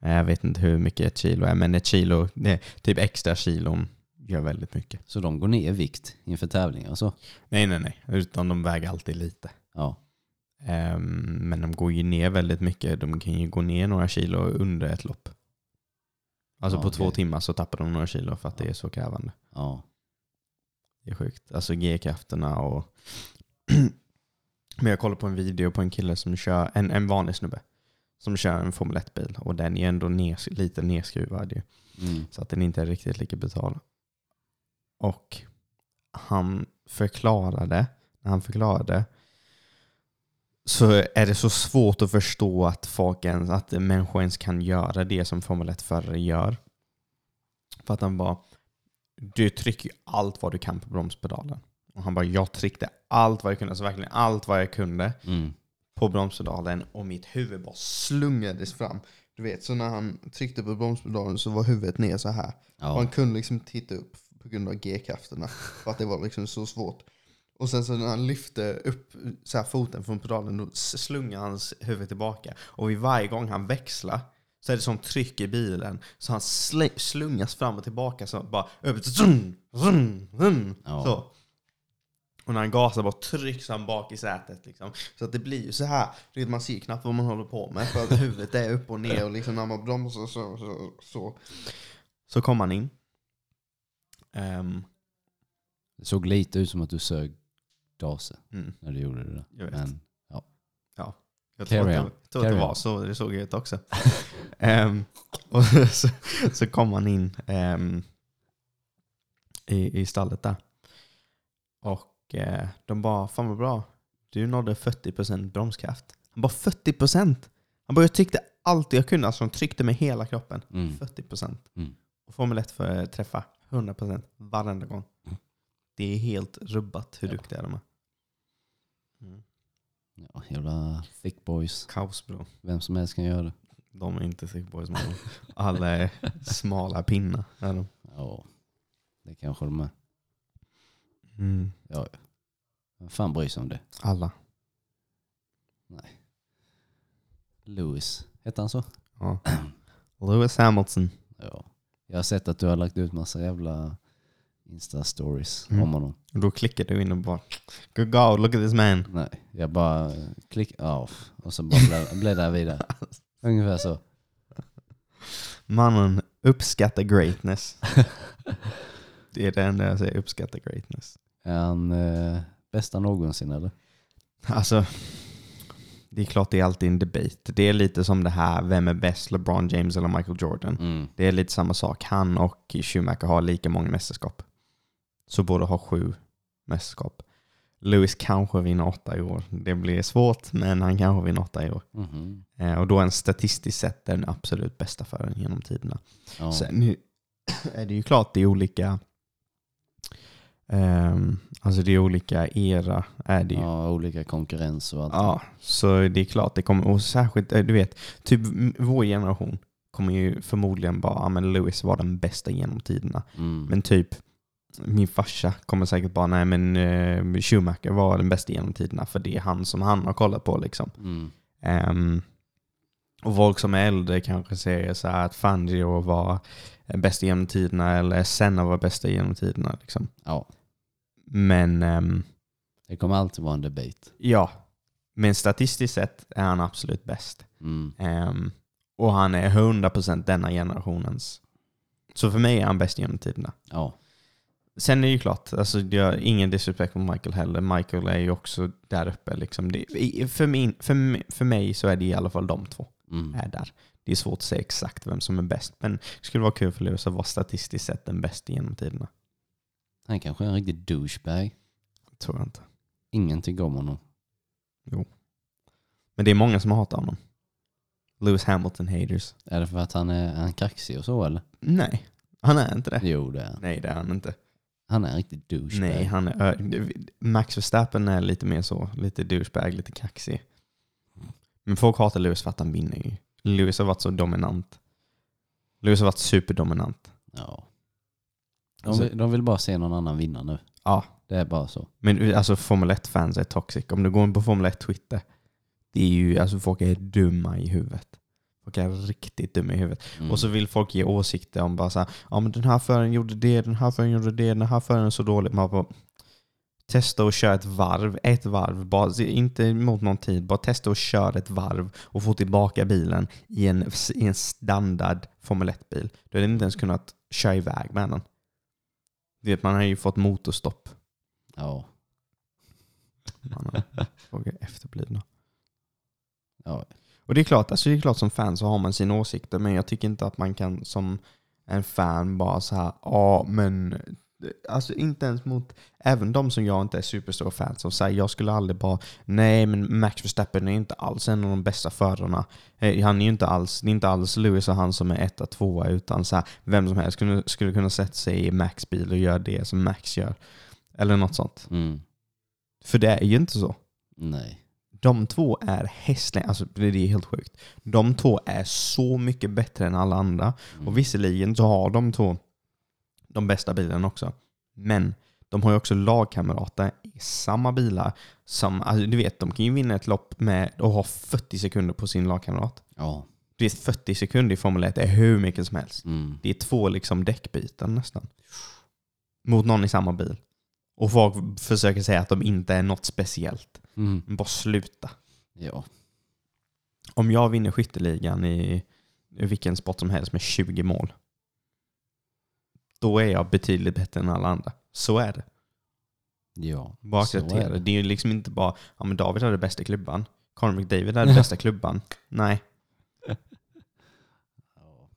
S2: Nej, Jag vet inte hur mycket ett kilo är, men ett kilo, nej, typ extra kilon gör väldigt mycket.
S3: Så de går ner i vikt inför tävlingar och så?
S2: Nej, nej, nej, utan de väger alltid lite.
S3: Ja.
S2: Ehm, men de går ju ner väldigt mycket. De kan ju gå ner några kilo under ett lopp. Alltså
S3: Ja,
S2: på två
S3: okej.
S2: timmar så tappar de några kilo för att det
S3: Ja.
S2: är så krävande.
S3: ja.
S2: Det är sjukt. Alltså G-krafterna och... men jag kollade på en video på en kille som kör, en, en vanlig snubbe, som kör en Formel 1-bil och den är ändå ner, lite nedskruvad ju.
S3: Mm.
S2: Så att den inte är riktigt lika brutal. Och han förklarade, när han förklarade, så är det så svårt att förstå att, folk ens, att människor ens kan göra det som Formel 1-förare gör. För att han bara, du trycker ju allt vad du kan på bromspedalen. Och han bara, jag tryckte allt vad jag kunde, alltså verkligen allt vad jag kunde
S3: Mm.
S2: på bromspedalen och mitt huvud bara slungades fram. Du vet, så när han tryckte på bromspedalen så var huvudet ner så här. Och han
S3: Ja.
S2: kunde liksom inte titta upp på grund av g-krafterna. För att det var liksom så svårt. Och sen så när han lyfte upp så här foten från pedalen då s- slungade hans huvud tillbaka. Och vid varje gång han växlar så är det som tryck i bilen. Så han sl- slungas fram och tillbaka så bara upp, zoom, zoom, zoom.
S3: Ja.
S2: Så. Och när han gasar bara trycks han bak i sätet. Liksom. Så att det blir ju så här. Du vet, man ser ju knappt vad man håller på med. För att huvudet är upp och ner. Och liksom när man bromsar så, så, så. Så kom han in. Ehm,
S3: Det såg lite ut som att du sög gaser
S2: mm,
S3: när du gjorde det där.
S2: jag vet.
S3: Men
S2: jag tror att
S3: Carry
S2: det,
S3: on.
S2: jag tror att det
S3: Carry
S2: var
S3: on.
S2: så det såg ut också. Ehm, och så, så kom han in ehm, i, i stallet där. Och eh, de bara, fan vad bra. Du nådde 40% bromskraft. Han bara 40%? Han bara, jag tryckte allt jag kunde. Alltså de tryckte med hela kroppen.
S3: mm.
S2: 40%.
S3: Mm.
S2: Och Formel 1 för träffa 100% varenda gång.
S3: Mm.
S2: Det är helt rubbat hur
S3: Ja.
S2: duktiga de är. Mm.
S3: ja, jävla thick boys.
S2: Kaos bro.
S3: Vem som helst kan göra det.
S2: De är inte sick boys man. Alla är smala pinnar. Är de.
S3: Ja, det kanske de är. Ja, ja. Vem fan bryr sig om det?
S2: Alla.
S3: Lewis, hette han så?
S2: Ja. Lewis Hamilton.
S3: Ja. Jag har sett att du har lagt ut massa jävla Insta-stories
S2: Mm.
S3: om honom.
S2: Då klickar du in och bara Good God, look at this man.
S3: Nej, jag bara eh, klick off och så bara blä- bläddrar vidare. Ungefär så.
S2: Mannen uppskattar greatness. Det är det enda jag säger, uppskattar greatness.
S3: Är han eh, bästa någonsin eller?
S2: Alltså, det är klart det är alltid en debate. Det är lite som det här, vem är bäst, LeBron James eller Michael Jordan?
S3: Mm.
S2: Det är lite samma sak. Han och Schumacher har lika många mästerskap. Så båda har sju mästerskap. Lewis kanske vinner åtta i år. Det blir svårt, men han kanske vinner åtta i år.
S3: Mhm.
S2: Eh, och då är han statistiskt sett den absolut bästa föraren genom tiderna.
S3: Ja.
S2: Sen är- är det ju klart det är olika ehm, alltså det är olika era är det ju.
S3: ja, olika konkurrens och allt.
S2: Ja, så det är klart det kommer, och särskilt, eh, du vet, typ m- vår generation kommer ju förmodligen bara, ja men Lewis var den bästa genom tiderna.
S3: Mm.
S2: Men typ, min farsa kommer säkert bara, nej men eh, Schumacher var den bästa genom tiderna för det är han som han har kollat på liksom.
S3: Mm.
S2: Ehm, och folk som är äldre kanske säger så här att Fangio var eh, bäst genom tiderna eller Senna var bästa genom tiderna liksom.
S3: ja,
S2: Men ehm,
S3: det kommer alltid vara en debate.
S2: ja, men statistiskt sett är han absolut bäst.
S3: Mm.
S2: Ehm, och han är 100% denna generationens. Så för mig är han bäst genom tiderna.
S3: Ja.
S2: Sen är det ju klart, alltså jag, ingen disrespect mot Michael heller. Michael är ju också där uppe. Liksom. Det, i- för, min, för, m- för mig så är det i alla fall de två
S3: Mm.
S2: är där. Det är svårt att säga exakt vem som är bäst, men det skulle vara kul för Lewis att vara statistiskt sett den bästa genom tiderna.
S3: Han kanske är en riktig douchebag.
S2: Tror jag inte.
S3: Ingenting om honom.
S2: Men det är många som hatar honom. Lewis Hamilton haters.
S3: Är det för att han är, är han kaxig och så eller?
S2: Nej, han är inte det.
S3: Jo det är han.
S2: Nej, det är han inte.
S3: Han är en riktig douchebag.
S2: Nej, han är, ö- Max Verstappen är lite mer så, lite douchebag, lite kaxig. Men folk hatar Lewis för att han vinner ju. Lewis har varit så dominant. Lewis har varit superdominant.
S3: Ja. De,
S2: Alltså-
S3: vill, de vill bara se någon annan vinna nu.
S2: Ja.
S3: Det är bara så.
S2: Men alltså Formel 1-fans är toxic. Om du går in på Formel 1-twitter, det är ju, alltså folk är dumma i huvudet. Folk är riktigt dumma i huvudet.
S3: Mm.
S2: Och så vill folk ge åsikter om bara så här, ja men den här föraren gjorde det, den här föraren gjorde det, den här föraren är så dålig. Man bara, testa och köra ett varv, ett varv, bara, se- inte mot någon tid, bara testa och köra ett varv och få tillbaka bilen i en, i en standard Formel 1-bil. Du hade inte ens kunnat köra iväg med den. Du vet, man har ju fått motorstopp.
S3: Ja.
S2: Man har frågat efterblivna.
S3: Ja.
S2: Och det är klart, alltså det är klart som fan så har man sina åsikter men jag tycker inte att man kan som en fan bara så här, ja men Alltså inte ens mot, även de som jag inte är superstor fans av. Så här, jag skulle aldrig bara, nej men Max Verstappen är inte alls en av de bästa förarna. Eh, Han är ju inte alls, det är inte alls Lewis och han som är etta, tvåa, utan så här, vem som helst skulle, skulle kunna sätta sig i Max bil och göra det som Max gör. Eller något sånt.
S3: Mm.
S2: För det är ju inte så.
S3: Nej.
S2: De två är hästlängder, alltså det är helt sjukt. De två är så mycket bättre än alla andra.
S3: Mm.
S2: Och visserligen så har de två de bästa bilarna också. Men de har ju också lagkamrater i samma bilar som, alltså du vet, de kan ju vinna ett lopp med och ha 40 sekunder på sin lagkamrat.
S3: Ja.
S2: Du vet, 40 sekunder i Formel 1 är hur mycket som helst.
S3: Mm.
S2: Det är två liksom däckbyten nästan. Mot någon i samma bil. Och folk försöker säga att de inte är något speciellt.
S3: Mm.
S2: Men bara sluta.
S3: Ja.
S2: Om jag vinner skytteligan i i vilken sport som helst med 20 mål, då är jag betydligt bättre än alla andra. Så är det.
S3: Ja.
S2: Bara
S3: Så är
S2: acceptera det.
S3: det.
S2: Det är ju liksom inte bara, ja men David hade bästa klubban, Conor McDavid hade bästa klubban. Nej.
S3: Ja.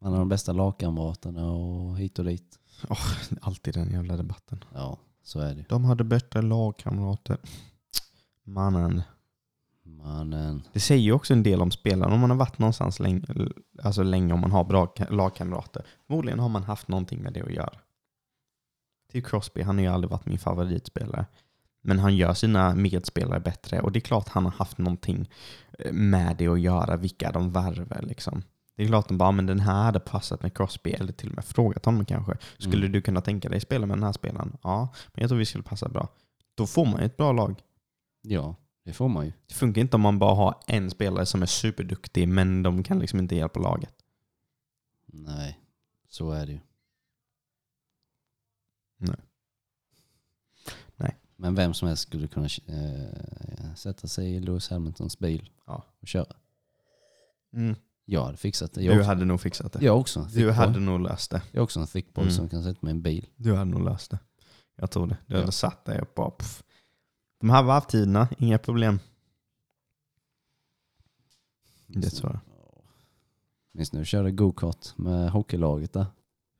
S3: Man har de bästa lagkamraterna och hit och dit.
S2: Alltid den jävla debatten.
S3: Ja, så är det ju.
S2: De hade bättre lagkamrater. Mannen.
S3: Mannen.
S2: Det säger ju också en del om spelaren. Om man har varit någonstans länge, alltså länge om man har bra ka- lagkamrater. Förmodligen har man haft någonting med det att göra. Till Crosby, han har ju aldrig varit min favoritspelare. Men han gör sina medspelare bättre och det är klart han har haft någonting eh, med det att göra, vilka de värver liksom. Det är klart de bara, men den här hade passat med Crosby, eller till och med frågat honom kanske. Skulle
S3: Mm.
S2: du kunna tänka dig spela med den här spelaren? Ja, men jag tror vi skulle passa bra. Då får man ju ett bra lag.
S3: Ja, det får man ju.
S2: Det funkar inte om man bara har en spelare som är superduktig men de kan liksom inte hjälpa laget.
S3: Nej, så är det ju.
S2: Nej. Nej.
S3: Men vem som helst skulle kunna eh, sätta sig i Lewis Hamiltons bil
S2: Ja.
S3: och köra. Jag hade fixat det. Jag,
S2: Mm. Du
S3: också,
S2: hade nog fixat det.
S3: jag är också en thick
S2: Du
S3: boy.
S2: hade nog löst det.
S3: Jag är också en thick boy
S2: Mm.
S3: som kan sätta mig i en bil.
S2: Du hade nog löst det. Jag tror det. Du hade
S3: Ja.
S2: satt dig och bara... Pff. De här varvtiderna, inga problem. Det tror jag.
S3: Minns nu körde go-kart med hockeylaget där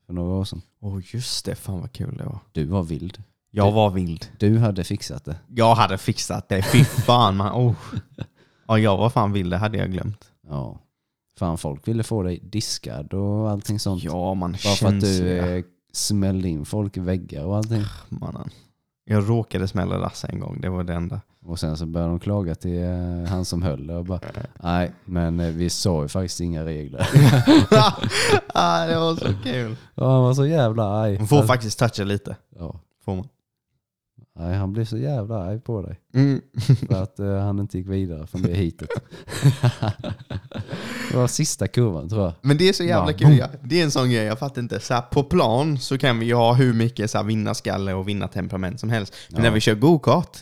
S3: för några år sedan.
S2: Åh oh, just det, fan vad kul det var.
S3: Du var vild.
S2: Jag var vild.
S3: Du hade fixat det.
S2: Jag hade fixat det, fy fan. Man, oh. Ja, jag var fan vild, det hade jag glömt.
S3: Ja. Fan, folk ville få dig diskad och allting sånt.
S2: Ja, man
S3: Bara för att
S2: känns
S3: du eh, smällde in folk i väggar och allting.
S2: mannen. Jag råkade smälla Lasse en gång, det var det enda.
S3: Och sen så började de klaga till eh, han som höll det och bara nej men eh, vi sa ju faktiskt inga regler.
S2: ah, det var så kul.
S3: och han var så jävla arg.
S2: Man får
S3: Alltså,
S2: faktiskt toucha lite.
S3: ja,
S2: Får man.
S3: nej, han blev så jävla arg på dig
S2: Mm.
S3: för att eh, han inte gick vidare från det hitet. det var sista kurvan tror jag.
S2: Men det är så jävla
S3: Bara
S2: kul. ja. Det är en sån grej, jag fattar inte. Så här, på plan så kan vi ju ha hur mycket så här, vinnarskalle och vinnartemperament som helst. Men
S3: Ja.
S2: när vi kör go-kart,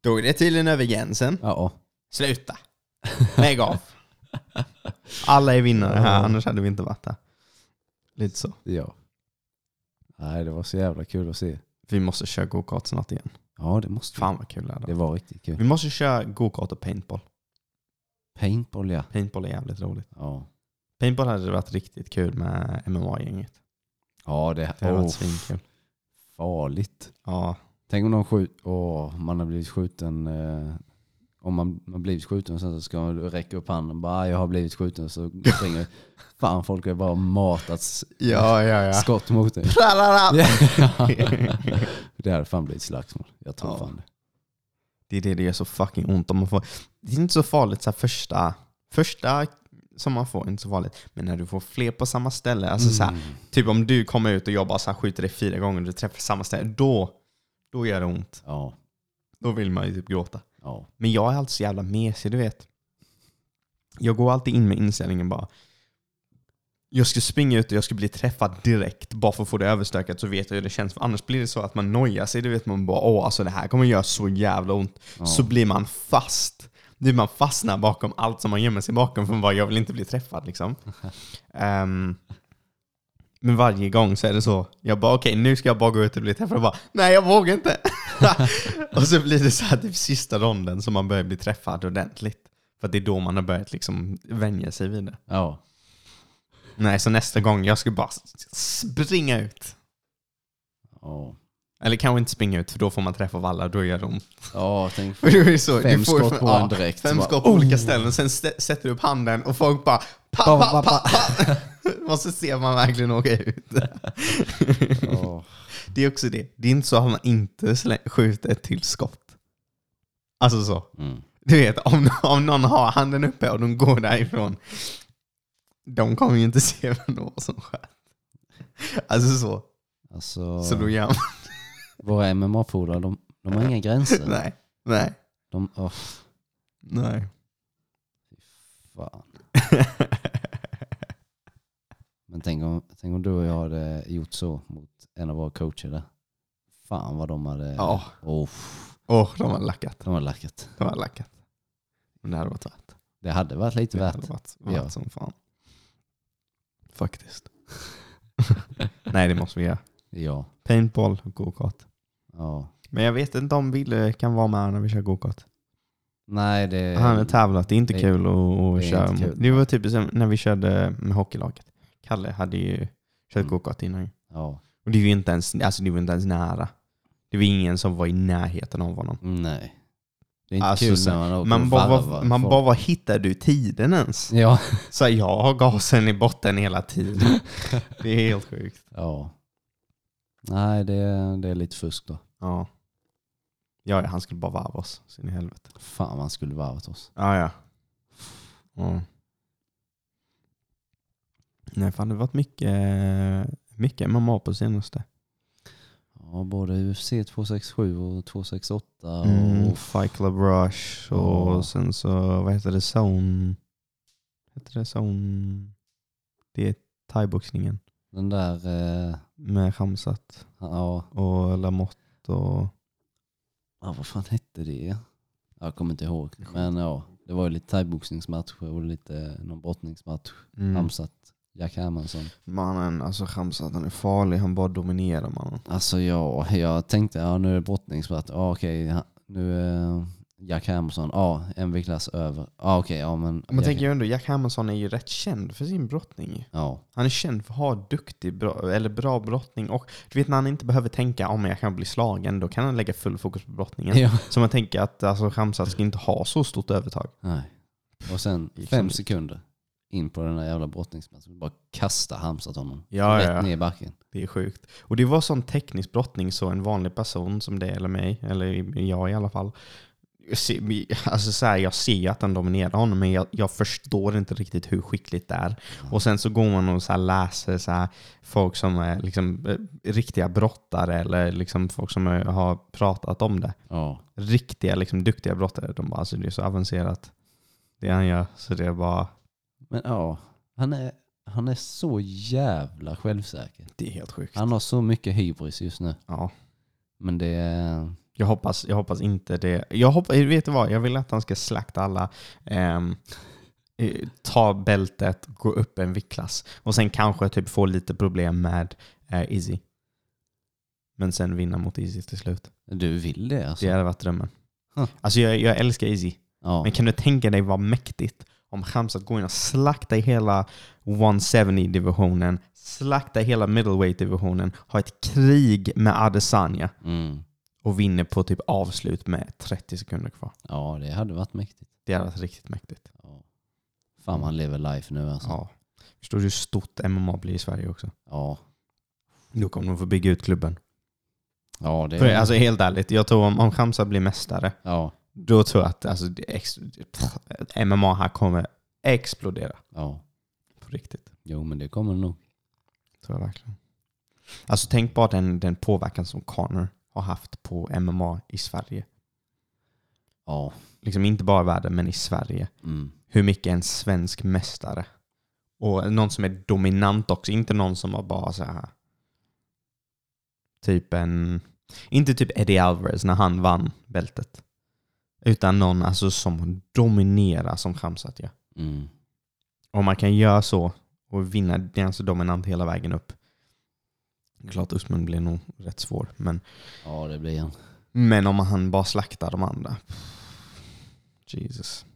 S2: då är det tydligen över gränsen.
S3: Ja,
S2: Sluta! Lägg av! Alla är vinnare här, annars hade vi inte varit här. Lite så.
S3: ja. Nej det var så jävla kul att se.
S2: Vi måste köra go-kart snart igen.
S3: Ja det måste vi.
S2: Fan vad kul det hade
S3: Det
S2: varit.
S3: var riktigt kul.
S2: Vi måste köra go-kart och paintball.
S3: Paintball ja.
S2: Paintball är jävligt roligt.
S3: Ja,
S2: Paintball hade varit riktigt kul med MMA-gänget.
S3: ja det,
S2: Det hade
S3: åh,
S2: varit svinkul.
S3: farligt.
S2: Ja.
S3: Tänk om någon skjut, åh, man har blivit skjuten. Eh, om man man har blivit skjuten och sen så ska man räcka upp handen och bara "Ah, jag har blivit skjuten så springer Fan folk har bara matats
S2: Ja, ja,
S3: skott mot dig.
S2: ja.
S3: det hade fan blivit slagsmål. Jag tror
S2: Ja.
S3: fan det.
S2: Det är det det gör så fucking ont om man får. Det är inte så farligt så här första, första som man får, är inte så farligt. Men när du får fler på samma ställe, alltså så
S3: Mm.
S2: här, typ om du kommer ut och jag bara så här skjuter dig fyra gånger och du träffar samma ställe, då, då gör det ont.
S3: Ja,
S2: Då vill man ju typ gråta.
S3: ja.
S2: Men jag är alltid så jävla mesig, du vet. Jag går alltid in med inställningen bara. Jag ska springa ut och jag ska bli träffad direkt bara för att få det överstökat så vet jag hur det känns. För annars blir det så att man nojar sig. Du vet man bara åh alltså det här kommer göra så jävla ont.
S3: Ja.
S2: Så blir man fast. Nu man fastnar bakom allt som man gömmer sig bakom för bara jag vill inte bli träffad liksom. Ehm, men varje gång så är det så. Jag bara okej nu ska jag bara gå ut och bli träffad. Och bara nej jag vågar inte. och så blir det så här typ sista ronden som man börjar bli träffad ordentligt. För att det är då man har börjat liksom vänja sig vid det.
S3: ja.
S2: Nej, så nästa gång jag ska bara s- springa ut.
S3: Ja,
S2: Eller kanske inte springa ut för då får man träffa alla, då gör de...
S3: Ja, tänk
S2: För det är ju så,
S3: fem
S2: du får,
S3: skott på
S2: ja,
S3: en direkt.
S2: Fem
S3: Bara,
S2: skott på olika ställen, sen stä- sätter du upp handen och folk bara... Pa, pa, pa, pa, Och så ser man verkligen åka ut.
S3: ja.
S2: Det är också det, det är inte så att man inte slä- skjuter ett till skott. Alltså så.
S3: Mm.
S2: Du vet, om, om någon har handen uppe och de går därifrån. De kommer ju inte se vem det var som sköt. Alltså så.
S3: Alltså,
S2: Så då gör man...
S3: våra MMA-polare, de, de har inga gränser.
S2: Nej. Nej.
S3: De, åh,
S2: Nej.
S3: fan. Men tänk om, tänk om du och jag hade gjort så mot en av våra coacher där. Fan vad de hade...
S2: Ja.
S3: Åh,
S2: Åh, de har lackat.
S3: de var lackat.
S2: De har lackat. Men det hade varit värt.
S3: Det hade varit lite
S2: Det
S3: värt.
S2: hade varit värt
S3: Ja.
S2: som fan. Faktiskt. Nej, det måste vi göra.
S3: Ja.
S2: Paintball och go-kart.
S3: ja.
S2: Men jag vet inte om Wille kan vara med när vi kör go-kart.
S3: Nej, det...
S2: Han har tävlat, det är inte
S3: Eh, det-
S2: kul att,
S3: det är
S2: att köra.
S3: inte
S2: mot-
S3: kul.
S2: Det var typ som när vi körde med hockeylaget. Kalle hade ju kört
S3: Mm.
S2: gokart innan. ju.
S3: Ja.
S2: Och det var ju inte ens, alltså det var inte ens nära. Det var ingen som var i närheten av honom.
S3: Nej. Det är inte
S2: Alltså,
S3: kul när man åker
S2: Man
S3: och
S2: bara,
S3: varvar
S2: vad- man
S3: folk.
S2: bara, vad hittar du tiden ens?
S3: Ja.
S2: Så jag har gasen i botten hela tiden. det är helt sjukt.
S3: ja. Nej, det, det är lite fusk då.
S2: Ja. Ja, ja, han skulle bara varva oss. Så in i helvete.
S3: Fan man skulle varvat oss.
S2: Ah, Ja, Mm. ja. ja. Nej, fan det har varit mycket, mycket MMA på senaste.
S3: Ja, både UFC 267 och 268 och...
S2: Mm, och Fight Club Rush och
S3: Ja.
S2: sen så, vad heter det, Zone... Heter det Zone... Det är thaiboxningen
S3: Den där... Eh,
S2: med Khamzat
S3: ja.
S2: och Lamotte och...
S3: ja, vad fan hette det? Jag kommer inte ihåg. Men ja, det var ju lite thaiboxningsmatcher och lite någon brottningsmatch.
S2: Mm.
S3: Hamsat, Jack Hermansson.
S2: Mannen, alltså Khamzat han är farlig, han bara dominerar mannen.
S3: Alltså ja, jag tänkte ja, nu är det brottningsmatch. Ja, okej, ha- nu är Jack Hermansson. Ja, en viktklass över. Ja, okej, ja men...
S2: Man
S3: Jack-
S2: tänker ju ändå, Jack Hermansson är ju rätt känd för sin brottning.
S3: Ja,
S2: Han är känd för att ha duktig, bra, eller bra brottning och du vet när han inte behöver tänka om jag kan bli slagen, då kan han lägga full fokus på brottningen.
S3: ja.
S2: Så man tänker att alltså, Khamzat ska inte ha så stort övertag.
S3: Nej. Och sen
S2: Gick som
S3: fem
S2: dit.
S3: sekunder in på den där jävla brottningsmatchen. Bara kasta Hamsat honom.
S2: Ja,
S3: Rätt
S2: ja, ja.
S3: ner i backen.
S2: Det är sjukt. Och det var sån teknisk brottning så en vanlig person som det eller mig, eller jag i alla fall, jag ser- alltså så här, jag ser att han dominerar honom men jag, jag förstår inte riktigt hur skickligt det är. Och sen så går man och så här läser så här, folk som är liksom, eh, riktiga brottare eller liksom folk som eh, har pratat om det.
S3: Ja.
S2: Riktiga liksom, duktiga brottare. De bara, alltså, det är så avancerat det han gör. Så det är bara,
S3: Men ja, han är, han är så jävla självsäker.
S2: det är helt sjukt.
S3: Han har så mycket hybris just nu.
S2: Ja.
S3: Men det är...
S2: Jag hoppas, jag hoppas inte det. Jag hoppas, vet du vad? Jag vill att han ska slakta alla. ehm, eh, ta bältet, gå upp en viktklass. Och sen kanske typ få lite problem med eh, Izzy. Men sen vinna mot Izzy till slut.
S3: Du vill det alltså?
S2: Det hade varit drömmen.
S3: Huh.
S2: Alltså jag, jag älskar Izzy.
S3: Ja.
S2: Men kan du tänka dig vad mäktigt om Khamzat går in och slaktar hela 170-divisionen, slaktar hela middleweight-divisionen, har ett krig med Adesanya
S3: Mm.
S2: och vinner på typ avslut med 30 sekunder kvar.
S3: ja, det hade varit mäktigt.
S2: Det hade varit riktigt mäktigt.
S3: Ja. Fan man lever life nu alltså. Ja.
S2: Ja. Förstår du hur stort MMA blir i Sverige också? Då kommer de få bygga ut klubben.
S3: Ja, det
S2: För,
S3: är...
S2: alltså helt ärligt, jag tror om, om Khamzat blir mästare,
S3: Ja,
S2: då tror jag att alltså, det ex, pff, MMA här kommer explodera.
S3: ja.
S2: På riktigt.
S3: Jo, men det kommer nog.
S2: Tror jag verkligen. Alltså tänk bara den, den påverkan som Conor har haft på MMA i Sverige.
S3: Ja.
S2: Liksom inte bara i världen, men i Sverige.
S3: Mm.
S2: hur mycket en svensk mästare och någon som är dominant också, inte någon som har bara så här typ en, inte typ Eddie Alvarez när han vann bältet. Utan någon alltså som dominerar som Khamzat gör.
S3: Mm.
S2: Om man kan göra så och vinna det är alltså dominant hela vägen upp. Klart Usman blir nog rätt svår, men,
S3: Ja, det blir han.
S2: men om han bara slaktar de andra. Jesus.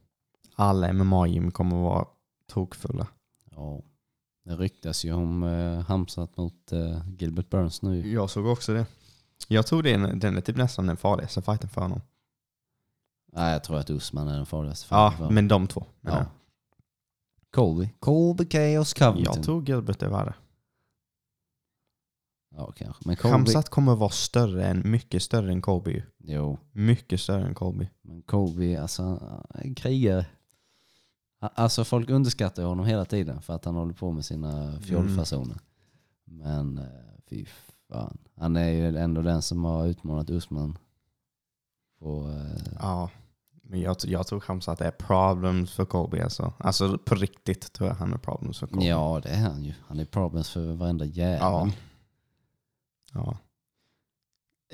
S2: Alla MMA-gym kommer vara tokfulla.
S3: Ja. Det ryktas ju om eh, Hamsat mot eh, Gilbert Burns nu.
S2: Jag såg också det. Jag tror det är, en- den är typ nästan den farligaste fighten för honom.
S3: Nej, jag tror att Usman är den farligaste.
S2: Ja,
S3: fighten för-
S2: men de två. menar
S3: ja. Colby. Colby Chaos
S2: Jag,
S3: Covington.
S2: jag tror Gilbert är värre.
S3: Ja, kanske. Men Colby...
S2: Khamzat kommer vara större än, mycket större än Colby ju.
S3: Jo,
S2: Mycket större än Colby.
S3: men Colby, alltså, han är en krigare. A- Alltså folk underskattar ju honom hela tiden för att han håller på med sina fjollfasoner. Men eh, fy fan. Han är ju ändå den som har utmanat Usman. På, eh,
S2: Ja. Men jag, jag tror Khamzat är problems för Colby alltså. Alltså på riktigt tror jag han är problems för Colby.
S3: ja, det är han ju. Han är problems för varenda jävel.
S2: Ja. ja.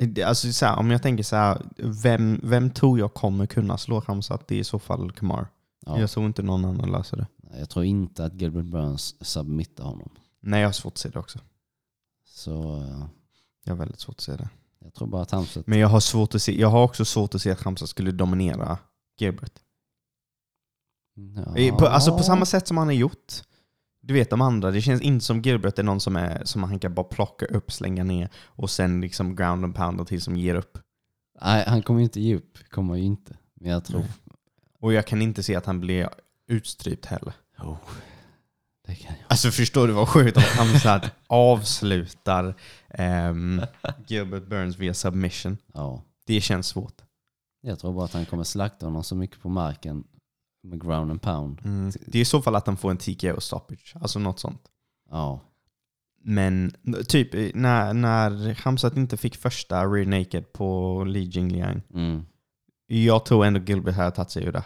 S2: Det- Alltså så här, om jag tänker så här, vem, vem tror jag kommer kunna slå Khamzat? Det är i så fall Kamar.
S3: Ja.
S2: Jag tror inte någon annan löser det.
S3: Jag tror inte att Gilbert Burns submittar honom.
S2: Nej, jag har svårt att se det också.
S3: Så eh,
S2: Jag har väldigt svårt att se det.
S3: jag tror bara att han...
S2: Men jag har, svårt att se, jag har också svårt att se att Khamzat skulle dominera Gilbert. I- På, alltså på samma sätt som han har gjort. Du vet de andra, det känns inte som Gilbert är någon som, är, som han kan bara plocka upp, slänga ner och sen liksom ground and pounder till som ger upp.
S3: Nej, han kommer ju inte ge upp. Kommer ju inte. Men jag tror...
S2: Och jag kan inte se att han blir utstrypt heller.
S3: Oh. Det kan jag.
S2: Alltså förstår du vad sjukt om Hamzat avslutar ehm, Gilbert Burns via submission.
S3: Ja.
S2: Det känns svårt.
S3: Jag tror bara att han kommer slakta honom så mycket på marken med ground and pound.
S2: Det är i så fall att han får en TKO stoppage, alltså något sånt.
S3: Ja.
S2: Men typ eh, när, när Hamzat inte fick första rear naked på Li Jingliang
S3: Mm.
S2: Jag tror ändå Gilbert hade tagit sig ur det.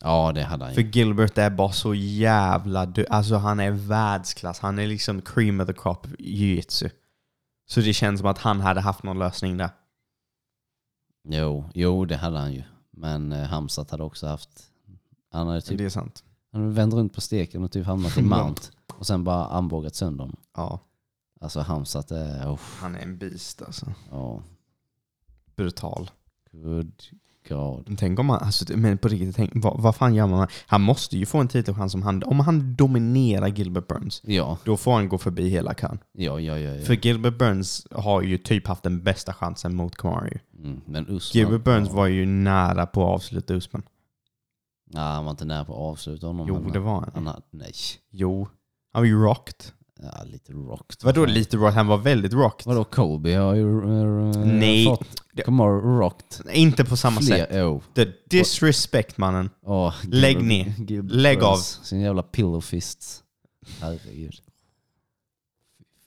S3: Ja, det hade han
S2: För
S3: ju.
S2: Gilbert är bara så jävla du. Alltså han är världsklass. Han är liksom cream of the crop i jujutsu. Så det känns som att han hade haft någon lösning där.
S3: Jo, jo, det hade han ju. Men eh, Hamzat hade också haft... Han hade typ
S2: Det är sant.
S3: han hade vänt runt på steken och typ hamnat i mount. Och sen bara armbågat sönder honom.
S2: Ja,
S3: Alltså Hamzat är... Oh,
S2: han är en beast alltså.
S3: ja.
S2: Brutal.
S3: Good God.
S2: Tänk om han, alltså, men på riktigt, tänk, vad, vad fan gör man? Han måste ju få en titelchans om han, om han dominerar Gilbert Burns.
S3: Ja,
S2: Då får han gå förbi hela kön.
S3: ja, ja, ja. ja.
S2: För Gilbert Burns har ju typ haft den bästa chansen mot Kamaru.
S3: Mm, men Usman...
S2: Gilbert Burns
S3: ja.
S2: var ju nära på att avsluta Usman.
S3: Nej, han var inte nära på att avsluta honom.
S2: Jo,
S3: men
S2: det var han.
S3: han hade, nej,
S2: Jo. Han var ju rocked.
S3: ja, lite rocked.
S2: Vadå lite rocked? Han var väldigt rocked.
S3: Vadå Kobe har ju eh,
S2: Nej.
S3: fått
S2: Det-
S3: Kamaru rocked
S2: Inte på samma
S3: fler
S2: sätt.
S3: år.
S2: The disrespect mannen.
S3: Åh,
S2: Lägg
S3: Gilbert-
S2: ner.
S3: Gilbert
S2: Lägg
S3: Burns.
S2: av.
S3: Sin jävla pillow fists. Herregud.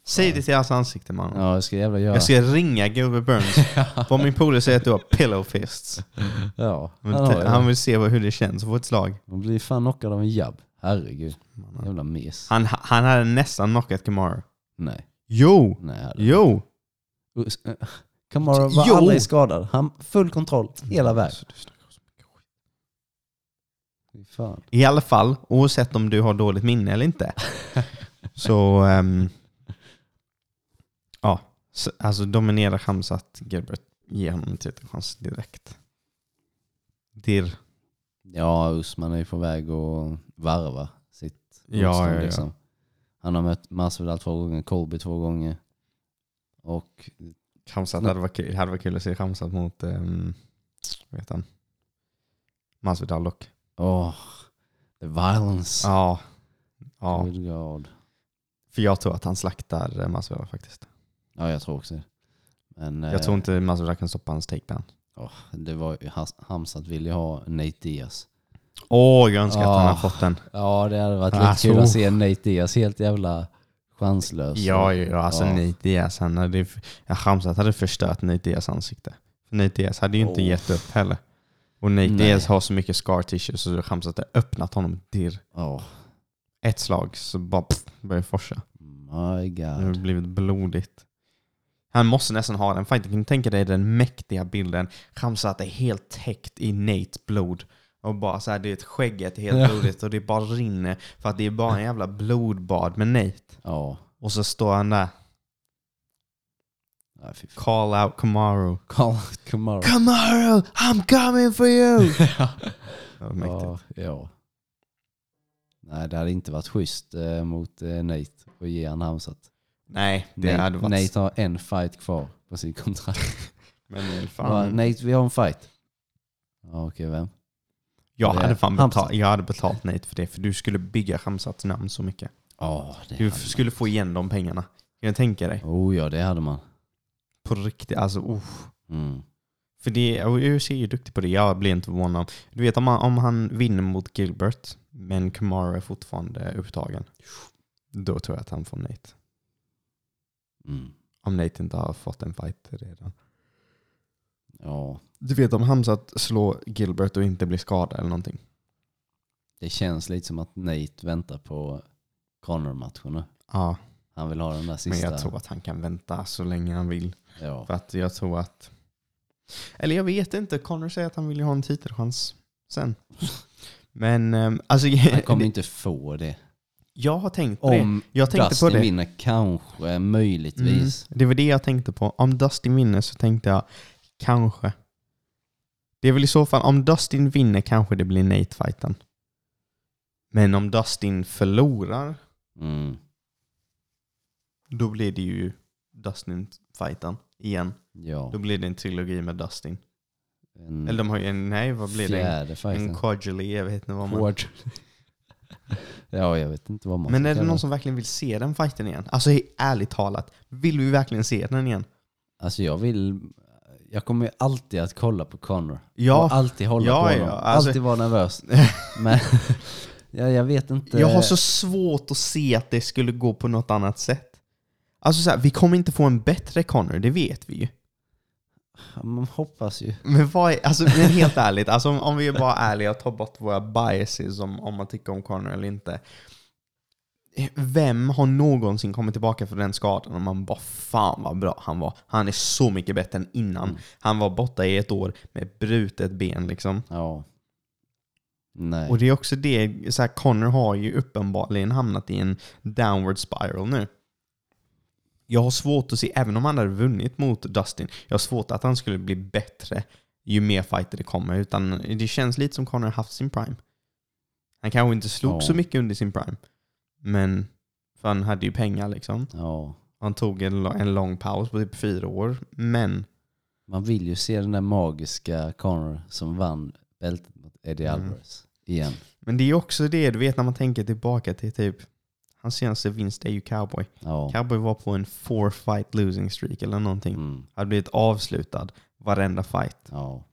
S2: Säg det till hans ansikte mannen.
S3: Ja, jag ska jävla göra.
S2: Jag ska ringa Gilbert Burns. Vad min polare säger att du har pillow fists.
S3: Ja,
S2: Han
S3: han,
S2: vill,
S3: har ju det.
S2: han vill se vad, hur det känns att få ett slag.
S3: Man blir fan knockad av en jabb. Herregud. Jävla mes.
S2: Han, han hade nästan knockat Kamaru.
S3: Nej.
S2: Jo!
S3: Nej. herregud.
S2: Jo!
S3: Us- eh, Kamaru var
S2: Jo.
S3: aldrig skadad. Han full kontroll hela vägen. Fy Fan.
S2: I alla fall, oavsett om du har dåligt minne eller inte. så... ehm, ja. Så, alltså dominera Hamzat Gilbert. Ge honom en titelchans direkt. Dir.
S3: Ja, Usman är ju på väg att varva sitt
S2: Ja,
S3: motstånd.
S2: ja, ja.
S3: Liksom. Han har mött Masvidal två gånger, Colby två gånger. Och
S2: Hamzat hade varit kul, hade varit kul att se Hamzat mot... Um, vet han? Masvidal dock.
S3: åh, the violence.
S2: Ja. Ja.
S3: Good God.
S2: För jag tror att han slaktar eh, Masvidal faktiskt.
S3: Ja, jag tror också det. Men eh,
S2: Jag tror inte Masvidal kan stoppa hans takedown.
S3: åh, det var ju Has- Hamzat ville ju ha Nate Diaz.
S2: Åh, jag önskar att han
S3: Ah.
S2: hade fått den.
S3: Ja, det hade varit lite
S2: Alltså.
S3: kul att se Nate Diaz helt jävla chanslös.
S2: Ja, ja, alltså
S3: Ja.
S2: Nate Diaz, han hade, ju- ja, Hamzat hade förstört Nate Diaz ansikte. För Nate Diaz hade ju inte
S3: Oh.
S2: gett upp heller. Och Nate
S3: Nej.
S2: Diaz har så mycket scar tissue så Hamzat har öppnat honom dirr.
S3: Åh,
S2: Ett slag så bara pff, börjar forsa.
S3: my
S2: Det har
S3: God.
S2: blivit blodigt. Han måste nästan ha den fighten. Kan du tänka dig den mäktiga bilden? Hamzat är helt täckt i Nates blod. Och bara så här, det är ett skägget är
S3: Ja.
S2: helt blodigt och det bara rinner. För att det är bara en jävla blodbad med Nate.
S3: Ja,
S2: Och så står han där.
S3: nej, fy fan.
S2: Call out Kamaru.
S3: Carl Kamara.
S2: Kamaru, I'm coming for you! ja, mäktigt.
S3: Ja, ja. Nej, det hade inte varit schysst eh, mot eh, Nate att ge han Hamzat.
S2: Nej, det
S3: Nate,
S2: hade varit...
S3: Nate har en fight kvar på sitt kontrakt.
S2: Men
S3: Bara,
S2: fan,
S3: Nate, vi har en fight. Ja, okej, vem?
S2: jag,
S3: det-
S2: hade fan
S3: Hamza.
S2: betalt, jag hade betalt Nate för det, för du skulle bygga Hamzats namn så mycket.
S3: Ja, det
S2: Du
S3: hade man.
S2: skulle få igen de pengarna. Kan jag tänka dig?
S3: Oh ja, det hade man.
S2: På riktigt, alltså oh.
S3: Mm.
S2: För det, och UFC är ju duktig på det, jag blir inte förvånad. Du vet om han, om han vinner mot Gilbert, men Kamara är fortfarande upptagen. Då tror jag att han får Nate.
S3: Mm.
S2: Om Nate inte har fått en fight redan.
S3: Ja,
S2: Du vet om Hamzat slår Gilbert och inte blir skadad eller någonting.
S3: det känns lite som att Nate väntar på Connor-matchen nu.
S2: Ja,
S3: Han vill ha den där sista.
S2: men jag tror att han kan vänta så länge han vill.
S3: Ja.
S2: För att jag tror att... Eller jag vet inte, Connor säger att han vill ju ha en titelchans sen. Men ehm, alltså,
S3: Han kommer inte få det.
S2: jag har tänkt på det.
S3: Om
S2: Jag tänkte
S3: Dustin
S2: på det.
S3: vinner kanske, möjligtvis.
S2: Mm, det var det jag tänkte på. Om Dustin vinner så tänkte jag kanske. Det är väl i så fall, om Dustin vinner kanske det blir Nate-fighten. Men om Dustin förlorar,
S3: Mm.
S2: då blir det ju Dustin-fighten igen.
S3: Ja.
S2: Då blir det en trilogi med Dustin.
S3: En
S2: Eller de har ju en, nej vad blir det? En-
S3: Mm. fjärde
S2: En
S3: fighten.
S2: quadrilly, jag vet inte vad man...
S3: Quad. ja, jag vet inte vad man
S2: Men
S3: ska
S2: är det
S3: kalla
S2: någon som verkligen vill se den fighten igen? Alltså he- ärligt talat, vill vi verkligen se den igen?
S3: Alltså jag vill... Jag kommer ju alltid att kolla på Connor.
S2: Ja,
S3: och alltid hålla
S2: ja,
S3: på
S2: ja,
S3: honom.
S2: alltså-
S3: Alltid vara nervös. Men ja, jag vet inte.
S2: Jag har så svårt att se att det skulle gå på något annat sätt. Alltså så här, vi kommer inte få en bättre Connor, det vet vi ju.
S3: Man hoppas ju.
S2: Men vad är, alltså men helt ärligt, alltså om, om vi är bara ärliga och tar bort våra biases om, om man tycker om Connor eller inte. Vem har någonsin kommit tillbaka från den skadan och man bara fan vad bra han var. Han är så mycket bättre än innan.
S3: Mm.
S2: Han var borta i ett år med brutet ben liksom.
S3: Ja. Nej.
S2: Och det är också det, så här, Connor har ju uppenbarligen hamnat i en downward spiral nu. Jag har svårt att se, även om han hade vunnit mot Dustin, jag har svårt att han skulle bli bättre ju mer fighter det kommer. Utan det känns lite som Connor haft sin prime. Han kanske inte slog
S3: Ja.
S2: så mycket under sin prime. Men, för han hade ju pengar liksom.
S3: Ja.
S2: Han tog en, lo- en lång paus på typ fyra år. Men,
S3: Man vill ju se den där magiska Connor som vann bältet mot Eddie
S2: Mm.
S3: Alvarez igen.
S2: men det är ju också det, du vet när man tänker tillbaka till typ, hans senaste vinst är ju cowboy.
S3: Ja.
S2: Cowboy var på en four fight losing streak eller någonting.
S3: Mm.
S2: Hade blivit avslutad varenda fight.
S3: Ja.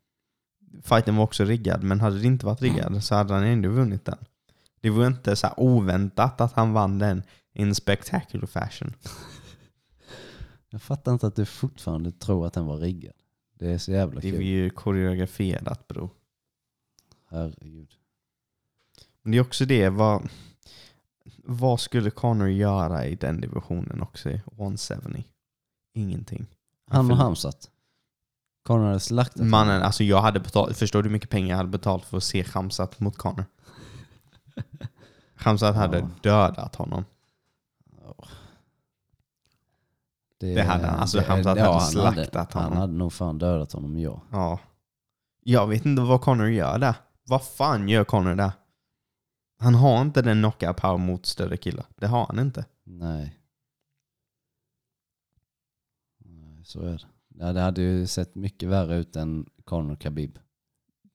S2: Fighten var också riggad, men hade det inte varit riggad så hade han ändå vunnit den. Det var inte så här oväntat att han vann den in spectacular fashion.
S3: Jag fattar inte att du fortfarande tror att den var riggad. Det är så jävla
S2: Det är
S3: kul.
S2: ju koreograferat bro.
S3: Herregud.
S2: Men det är också det, vad, vad skulle Connor göra i den divisionen också? i 170? Ingenting.
S3: Han och Hamzat. Connor hade slaktat honom.
S2: Mannen, alltså jag hade betalt, förstår du hur mycket pengar jag hade betalt för att se Khamzat mot Connor? Khamzat hade
S3: Ja.
S2: dödat honom. Det hade han. Alltså, han hade slaktat
S3: hade,
S2: honom.
S3: Han hade nog fan dödat honom, ja.
S2: Ja. Jag vet inte vad Connor gör där. Vad fan gör Connor där? Han har inte den knockout power mot större killar. Det har han inte.
S3: Nej. Nej, Så är det. Ja, det hade ju sett mycket värre ut än Conor Khabib.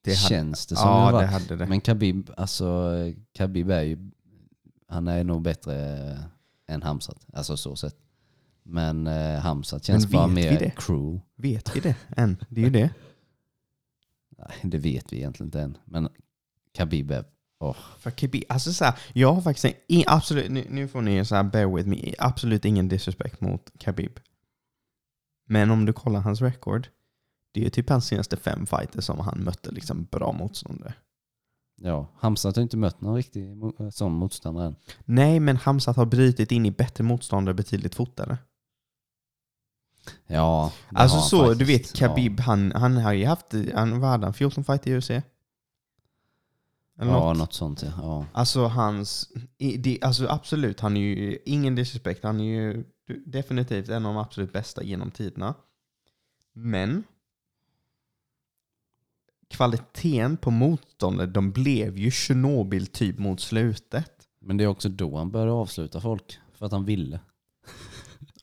S2: Det hade-
S3: Känns det som.
S2: Ja,
S3: det var.
S2: det hade det.
S3: Men Khabib, alltså eh, Khabib är ju, han är nog bättre eh, än Hamzat. Alltså så sett. Men eh, Hamzat känns
S2: Men
S3: bara
S2: vet vi
S3: mer
S2: det?
S3: cruel.
S2: Vet vi det än? Det är ju det.
S3: Nej, det vet vi egentligen inte än. Men Khabib är, åh.
S2: För KB, alltså så här, jag har faktiskt en, i- absolut, nu, nu får ni så här, bear with me, absolut ingen disrespect mot Khabib. Men om du kollar hans record, det är ju typ hans senaste fem fighter som han mötte liksom bra motståndare.
S3: ja, Hamzat har inte mött någon riktig mo- sån motståndare än.
S2: Nej, men Hamzat har brutit in i bättre motståndare betydligt fortare.
S3: Ja, det
S2: alltså
S3: har han
S2: så, du
S3: faktiskt.
S2: vet Khabib, han, han har ju haft, han, vad hade han, 14 fighter i UFC?
S3: Ja,
S2: Eller
S3: ja något sånt. ja. Ja.
S2: Alltså hans, i- det, alltså absolut, han är ju ingen disrespect. Han är ju definitivt en av de absolut bästa genom tiderna. Men kvaliteten på motståndet, de blev ju Tjernobyl typ mot slutet.
S3: Men det är också då han började avsluta folk. För att han ville.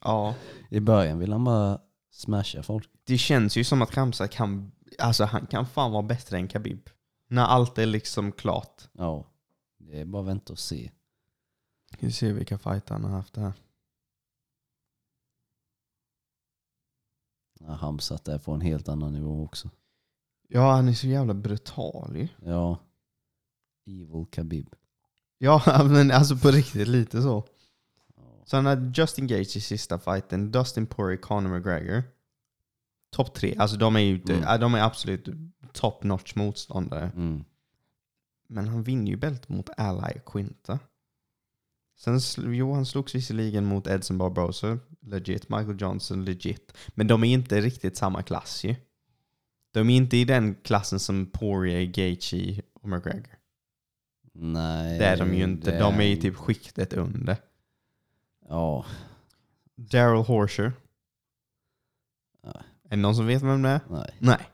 S2: Ja.
S3: I början vill han bara smasha folk.
S2: Det känns ju som att Khamzat kan, alltså han kan fan vara bättre än Khabib. När allt är liksom klart.
S3: Ja, det är bara att vänta och se.
S2: Ska vi se vilka fighter han har haft här.
S3: Ja, Hamsat är på en helt annan nivå också.
S2: Ja, han är så jävla brutal ju.
S3: Ja. Evil Khabib.
S2: Ja, men alltså på riktigt lite så.
S3: Ja.
S2: Så han hade Justin Gage i sista fighten, Dustin Poirier, Conor McGregor. Topp tre, alltså de är ju
S3: Mm.
S2: äh, de är absolut top notch motståndare.
S3: Mm.
S2: Men han vinner ju bältet mot Ally Quinta. Sen, sl- jo han slogs visserligen mot Edson Barbosa, legit, Michael Johnson, legit. Men de är inte riktigt samma klass ju. De är inte i den klassen som Poirier, Gaethje och McGregor.
S3: Nej.
S2: Det är de ju
S3: det
S2: inte. De är ju typ skiktet under.
S3: Ja,
S2: Daryl Horsher.
S3: Ja.
S2: Är det någon som vet vem det är?
S3: nej.
S2: Nej.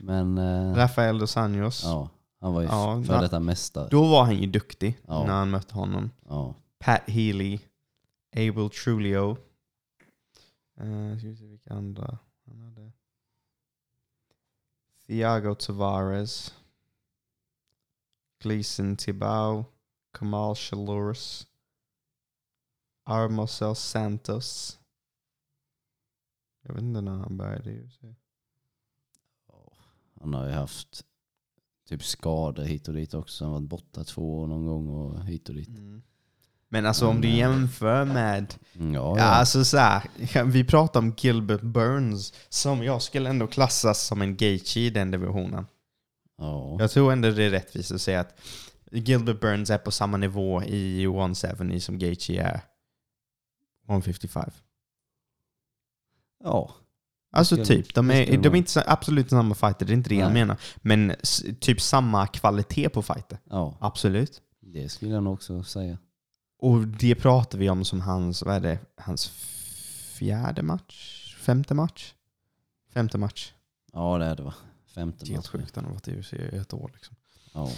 S3: Men eh,
S2: Rafael dos Anjos.
S3: ja, han var ju
S2: Ja,
S3: före
S2: na-
S3: detta mästare.
S2: Då var han ju duktig
S3: Ja.
S2: när han mötte honom.
S3: Ja.
S2: Pat Healy. Abel Trulio. Eh, ska vi se vilka andra han hade. Thiago Tavares. Gleason Tibau. Kamal Shalores. Armosel Santos. Jag vet inte när han började. i UFC.
S3: Han har ju haft typ skador hit och dit också. Han har varit borta två år någon gång och hit och dit.
S2: Men alltså om du
S3: Men, eh,
S2: jämför med
S3: Mm, Ja,
S2: Ja,
S3: ja.
S2: alltså så här, vi pratar om Gilbert Burns som jag skulle ändå klassas som en Gaethje i den divisionen.
S3: ja.
S2: Jag tror ändå det är rättvist att säga att Gilbert Burns är på samma nivå i 170 som Gaethje är 155.
S3: ja.
S2: Alltså
S3: Skulle-
S2: typ, de
S3: det
S2: är,
S3: skulle
S2: de är
S3: vara.
S2: inte så, absolut samma fighter, det är inte det jag
S3: Nej.
S2: menar. Men s- typ samma kvalitet på fighter.
S3: ja.
S2: Absolut.
S3: Det skulle jag nog också säga.
S2: Och det pratar vi om som hans, vad är det, hans fjärde match? Femte match? Femte match.
S3: Ja, det är det va. Femte
S2: Helt
S3: matchen.
S2: sjukt, han har varit i UFC i ett år. Liksom.
S3: Ja.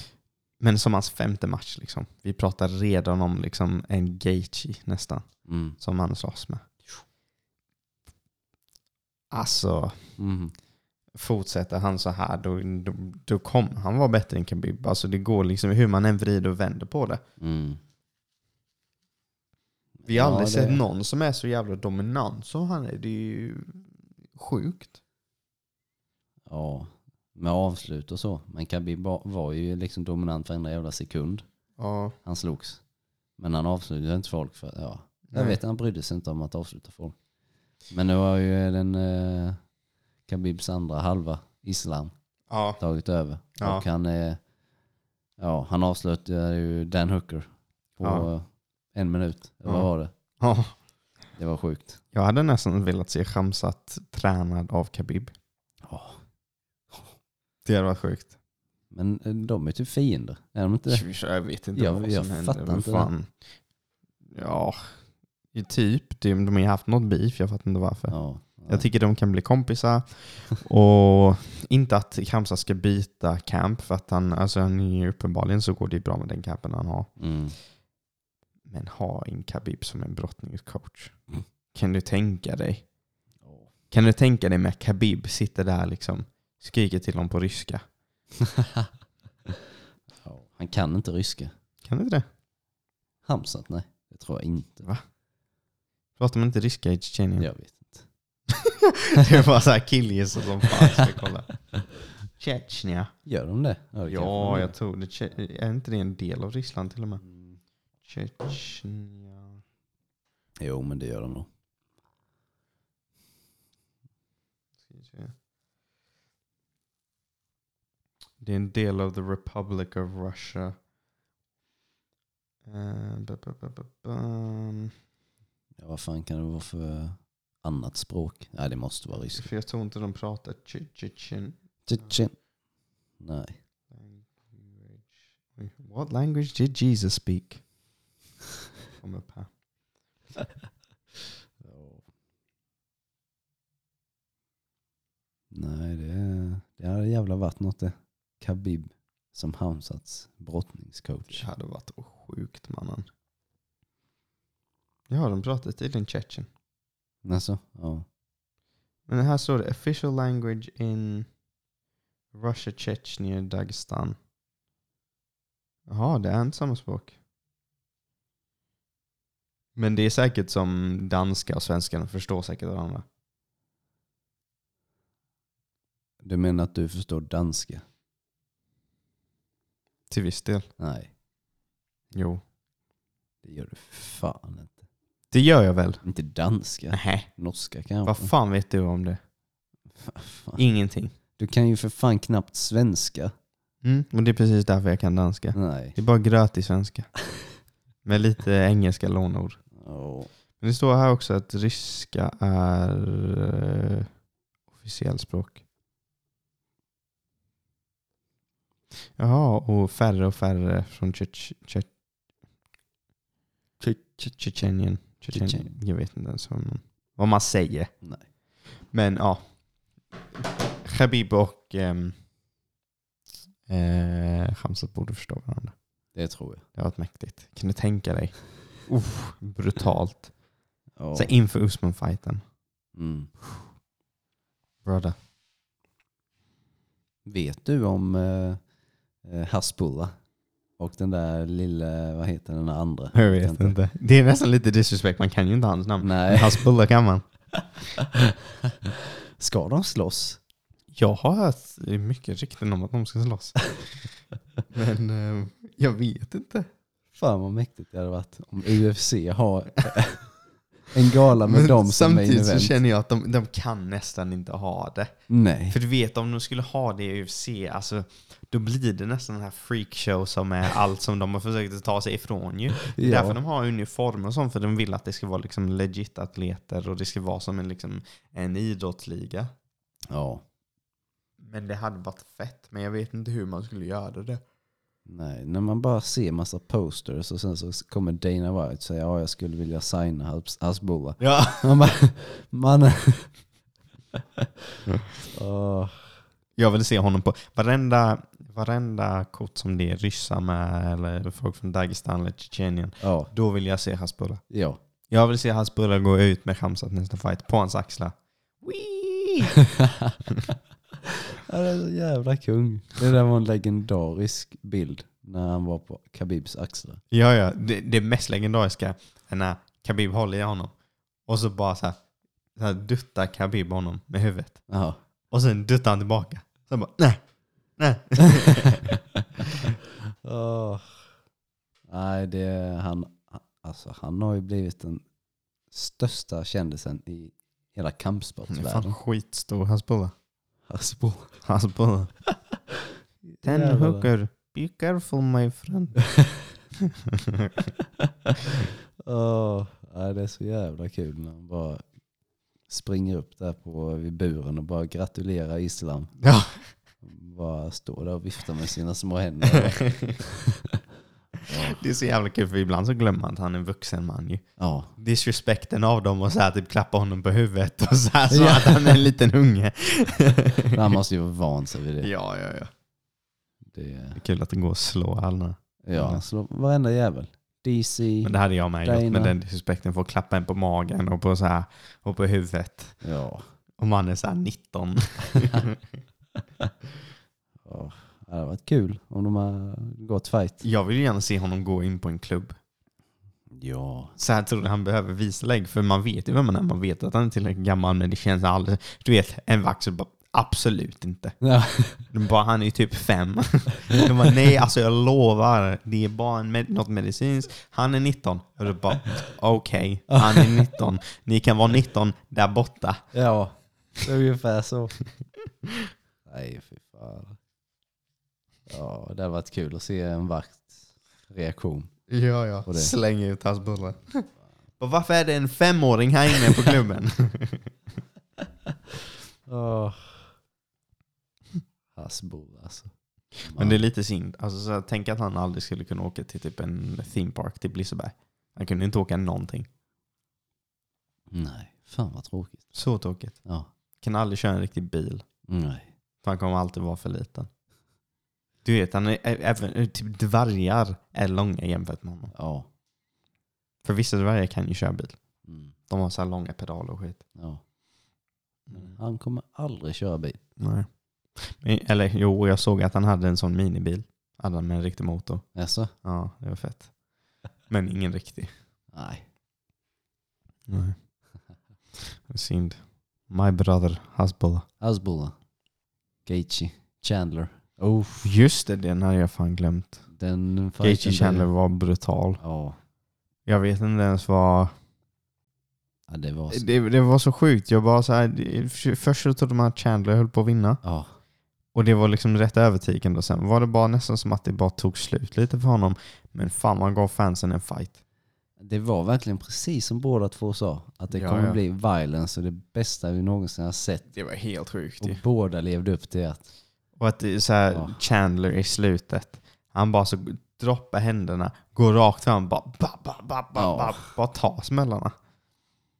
S2: Men som hans femte match. Liksom. Vi pratar redan om liksom, en Gaethje nästan,
S3: Mm.
S2: som han slåss med. Alltså,
S3: Mm.
S2: fortsätter han så här då, då, då kommer han vara bättre än Khabib. Alltså det går liksom hur man än vrider och vänder på det.
S3: Mm.
S2: Vi har aldrig
S3: det-
S2: sett någon som är så jävla dominant som han är. Det är ju sjukt.
S3: Ja, med avslut och så. Men Khabib ba- var ju liksom dominant varenda jävla sekund
S2: Ja.
S3: han slogs. Men han avslutade inte folk för, ja. Jag vet, han brydde sig inte om att avsluta folk. Men nu har ju den eh, Khabibs andra halva, Islam,
S2: Ja.
S3: tagit över.
S2: Ja.
S3: Och han är, ja, han avslutade ju Dan Hooker på
S2: Ja.
S3: eh, en minut. Eller
S2: Ja.
S3: Vad var det?
S2: ja.
S3: Det var sjukt.
S2: Jag hade nästan velat se Khamzat tränad av Khabib.
S3: Ja.
S2: Det hade varit sjukt.
S3: Men eh, de är typ fiender, är de inte det?
S2: Jag vet inte
S3: Jag-
S2: vad som
S3: jag
S2: hände.
S3: fattar
S2: men
S3: inte det.
S2: fan. Ja, ju typ. De de har ju haft något beef, jag fattar inte varför.
S3: Ja.
S2: Jag tycker de kan bli kompisar. Och inte att Kamsa ska byta camp, för att han, alltså han är ju uppenbarligen så går det ju bra med den campen han har.
S3: Mm.
S2: Men ha in Khabib som en brottningscoach.
S3: Mm.
S2: Kan du tänka dig?
S3: Ja.
S2: Kan du tänka dig med Khabib sitter där liksom, skriker till honom på ryska?
S3: Ja, Han kan inte ryska.
S2: Kan du inte det?
S3: Hamsat? Nej, det tror jag inte.
S2: Pratar man inte ryska i Tjetjenien?
S3: Jag vet inte.
S2: Det är bara såhär killgissar som fan ska kolla. Tjetjnia.
S3: Gör de det? Ja, det kanske
S2: Ja,
S3: de
S2: jag
S3: gör.
S2: tror det. Tje- Är inte det en del av Ryssland till och med?
S3: Mm.
S2: Tjetjnia.
S3: Jo, men det gör de nog.
S2: Ska vi se. Det är en del av the Republic of Russia. Eh, ba, ba, ba, ba, bam.
S3: Ja, vad fan kan det vara för annat språk? Nej, det måste vara ryska.
S2: För jag tror inte de pratar tje- tjetjen.
S3: Tjetjen. Nej.
S2: Language. What language did Jesus speak? Kom upp här.
S3: Nej, det, det hade jävla varit något det. Khabib som Hamsats brottningscoach.
S2: Det hade varit sjukt mannen. Ja, de pratar tydligen tjetjen.
S3: Alltså, ja.
S2: Men här står det official language in Russia, Chechnyen, Dagestan. Jaha, det är inte samma språk. Men det är säkert som danska och svenska, de förstår säkert varandra.
S3: Du menar att du förstår danska?
S2: Till viss del.
S3: Nej,
S2: Jo.
S3: det gör du fan inte.
S2: Det gör jag väl?
S3: Inte danska,
S2: Nej.
S3: norska kanske.
S2: Vad fan vet du om det?
S3: Vad fan?
S2: Ingenting.
S3: Du kan ju för fan knappt svenska.
S2: Mm. Och det är precis därför jag kan danska.
S3: Nej.
S2: Det är bara gröt i svenska. Med lite engelska lånord.
S3: Ja.
S2: Men det står här också att ryska är eh, officiellt språk. Jaha, och färre och färre från Tjetj- Tjetj- Tjetj- Tjetjenien. Tjetjenien.
S3: Tjetjenien.
S2: Jag vet inte ens vad man, vad man säger.
S3: Nej.
S2: Men ja. Khabib och ehm, eh, Khamzat borde förstå varandra.
S3: Det tror jag.
S2: Det har varit mäktigt. Kan du tänka dig? Uff, brutalt.
S3: Ja.
S2: Så inför Usman-fighten.
S3: Mm.
S2: Brother.
S3: Vet du om eh, eh, Hasbulla? Och den där lilla, vad heter den där andra?
S2: Jag vet inte. Det är nästan lite disrespect, man kan ju inte hans namn.
S3: Nej.
S2: Hans bullar kan man.
S3: Ska de slåss?
S2: Jag har hört mycket rykten om att de ska slåss. Men eh, jag vet inte.
S3: Fan vad mäktigt det hade varit om UFC har en gala med dem som main
S2: samtidigt så
S3: event.
S2: känner jag att de, de kan nästan inte ha det.
S3: Nej.
S2: För du vet om de skulle ha det i UFC, alltså, då blir det nästan den här freakshow som är allt som de har försökt att ta sig ifrån ju. Det är
S3: Ja.
S2: därför de har uniformer och sånt, för de vill att det ska vara liksom legit atleter och det ska vara som en, liksom, en idrottsliga.
S3: Ja.
S2: Men det hade varit fett. Men jag vet inte hur man skulle göra det.
S3: Nej, när man bara ser massa posters och sen så kommer Dana White och säger ja jag skulle vilja signa Has- Hasbulla.
S2: Ja.
S3: Man bara, man... Åh,
S2: Jag vill se honom på varenda, varenda kort som det är ryssar med eller folk från Dagestan eller Tjetjenien.
S3: ja,
S2: Då vill jag se Hasbulla.
S3: ja.
S2: Jag vill se Hasbulla gå ut med Khamzat nästa fight på hans axlar. Wee!
S3: Han är så jävla kung. Det där var en legendarisk bild när han var på Khabibs axlar.
S2: Ja, ja. Det, det mest legendariska är när Khabib håller i honom och så bara så här, så här duttar Khabib honom med huvudet.
S3: Ja.
S2: Och sen duttar han tillbaka. Sen bara nej, nej.
S3: Åh. Nej, det, han, alltså, han har ju blivit den största kändisen i
S2: Han är
S3: hela
S2: fan
S3: kampsportsvärlden. Alltså,
S2: skitstor Hasbulla.
S3: Hasbulla.
S2: Hasbulla. Ten
S3: Jävlar.
S2: hooker. Alltså, Be careful my friend.
S3: Åh, nej, det är så jävla kul när han bara springer upp där på, vid buren och bara gratulerar Islam.
S2: ja.
S3: Bara står där och viftar med sina små händer.
S2: Det är så jävla kul för ibland så glömmer man att han är en vuxen man ju.
S3: ja,
S2: Disrespekten av dem och så här typ klappa honom på huvudet och så här så
S3: Ja.
S2: att han är en liten unge.
S3: han måste ju vara van sig vid det.
S2: ja, ja, ja.
S3: det
S2: Det är kul att det går att slå alla.
S3: ja, han slår varenda jävel. DC,
S2: Men det hade jag med gjort
S3: Dina.
S2: med den disrespekten. Få klappa en på magen och på, så här, och på huvudet.
S3: ja.
S2: Och man är så här 19.
S3: ja. Det hade varit kul om de hade gått fight.
S2: Jag vill ju gärna se honom gå in på en klubb.
S3: Ja.
S2: Så här tror jag han behöver visa lägg. För man vet ju vem han är. Man vet att han är tillräckligt gammal. Men det känns alldeles... Du vet, en vakt så bara absolut inte.
S3: Ja.
S2: De bara, han är ju typ fem. De bara, nej alltså jag lovar. Det är bara en med, något medicinskt. Han är 19. Och du bara, okej. han är 19. Ni kan vara 19 där borta.
S3: ja, det är ungefär så. Nej, fy fan. Ja, det hade varit kul att se en vakts reaktion.
S2: Ja, ja.
S3: Och det-
S2: Släng ut hans bullar. Och varför är det en femåring här inne på klubben?
S3: Oh. Hasbull alltså.
S2: Men det är lite synd. Alltså, så här, tänk att han aldrig skulle kunna åka till typ en theme park till Liseberg. Han kunde inte åka någonting.
S3: Nej, fan vad tråkigt.
S2: Så tråkigt.
S3: Ja,
S2: Kan aldrig köra en riktig bil.
S3: nej.
S2: För han kommer alltid vara för liten. Du vet, han är, ä- även, typ dvärgar är långa jämfört med honom.
S3: Ja.
S2: För vissa dvärgar kan ju köra bil.
S3: Mm.
S2: De har så här långa pedaler och skit.
S3: Ja.
S2: Mm.
S3: Men han kommer aldrig köra bil.
S2: Nej. Men- Eller jo, jag såg att han hade en sån minibil. Hade han med en riktig motor.
S3: Alltså,
S2: Ja, det var fett. Men ingen riktig.
S3: nej.
S2: Nej. Synd. My brother Hasbulla.
S3: Hasbulla. Gaethje. Chandler. Oh,
S2: Just det, den hade jag fan glömt.
S3: den fighten.
S2: Gaethje Chandler var brutal.
S3: Ja,
S2: Jag vet inte ens vad...
S3: ja, det var...
S2: Det, det var så sjukt. Jag bara så här, det- Först så trodde man att Chandler höll på att vinna.
S3: Ja,
S2: Och det var liksom rätt övertygande. Och sen var det bara nästan som att det bara tog slut lite för honom. Men fan, man gav fansen en fight.
S3: det var verkligen precis som båda två sa. Att det
S2: Ja,
S3: kommer
S2: ja.
S3: bli violence och det bästa vi någonsin har sett.
S2: Det var helt sjukt
S3: Och båda levde upp till att
S2: Och att det är så här,
S3: Ja.
S2: Chandler i slutet, han bara så droppar händerna, går rakt fram, bara, ba, ba, ba, ba,
S3: Ja.
S2: ba, bara tar smällarna.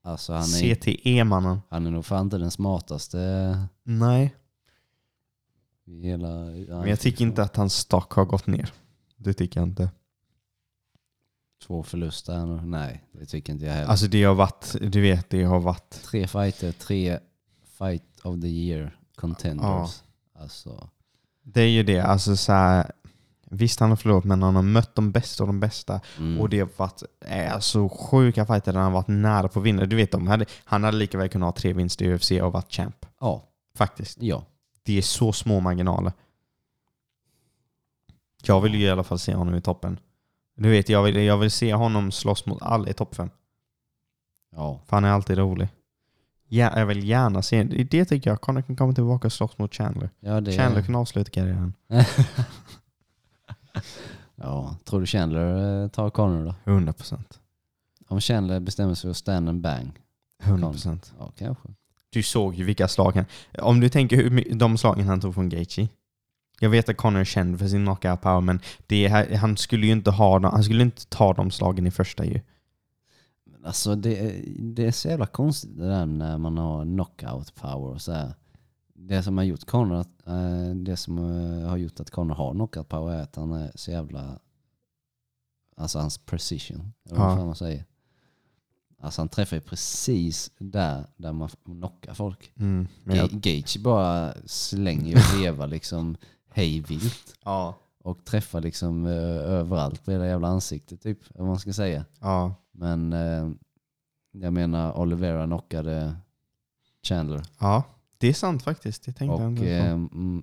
S3: alltså han, är,
S2: CTE-mannen.
S3: han är nog fan inte den smartaste
S2: Nej,
S3: i hela...
S2: men jag tycker inte att hans stock har gått ner. Det tycker jag inte.
S3: Två förluster här nu. Nej, det tycker inte jag heller.
S2: Alltså det har varit, du vet, det har varit,
S3: tre fighter, tre fight of the year contenders. Alltså,
S2: det är ju det, alltså så här, visst han har förlorat men han har mött de bästa av de bästa
S3: mm.
S2: och det har varit eh, så sjuka fighter där han har varit nära på att vinna. Du vet, de hade, han hade lika väl kunnat ha tre vinster i UFC och varit champ.
S3: ja,
S2: Faktiskt.
S3: ja,
S2: det är så små marginaler. Jag vill ju i alla fall se honom i toppen. Du vet, jag vill, jag vill se honom slåss mot alla i topp fem.
S3: ja.
S2: För han är alltid rolig. Ja, jag vill gärna se det. Det tycker jag. Connor kan komma tillbaka och slåss mot Chandler.
S3: ja det,
S2: Chandler kan avsluta karriären.
S3: ja, tror du Chandler eh, tar Connor då?
S2: 100%.
S3: Om Chandler bestämmer sig för att stand and bang?
S2: 100%.
S3: Ja, kanske.
S2: Du såg ju vilka slag han... Om du tänker hur my- de slagen han tog från Gaethje. Jag vet att Connor är känd för sin knockout power, men det är, här- han skulle ju inte ha dem, han skulle inte ta de slagen i första ju.
S3: Men Alltså det, är- det är så jävla konstigt det där när man har knockout power och så här. Det som har gjort Connor, att, eh, det som eh, har gjort att Connor har knockout power är att han är så jävla, alltså hans precision, eller vad
S2: Ja.
S3: fan man säger. Alltså han träffar ju precis där, där man knockar folk.
S2: Mm, men
S3: Ga-
S2: jag,
S3: Gage bara slänger och vevar liksom hej vilt
S2: ja.
S3: och träffar liksom eh, överallt på hela jävla ansiktet typ, eller vad man ska säga.
S2: Ja,
S3: Men eh, jag menar Olivera knockade Chandler.
S2: ja. det är sant faktiskt. Det tänkte jag
S3: Och
S2: inte
S3: eh,
S2: ens
S3: mm,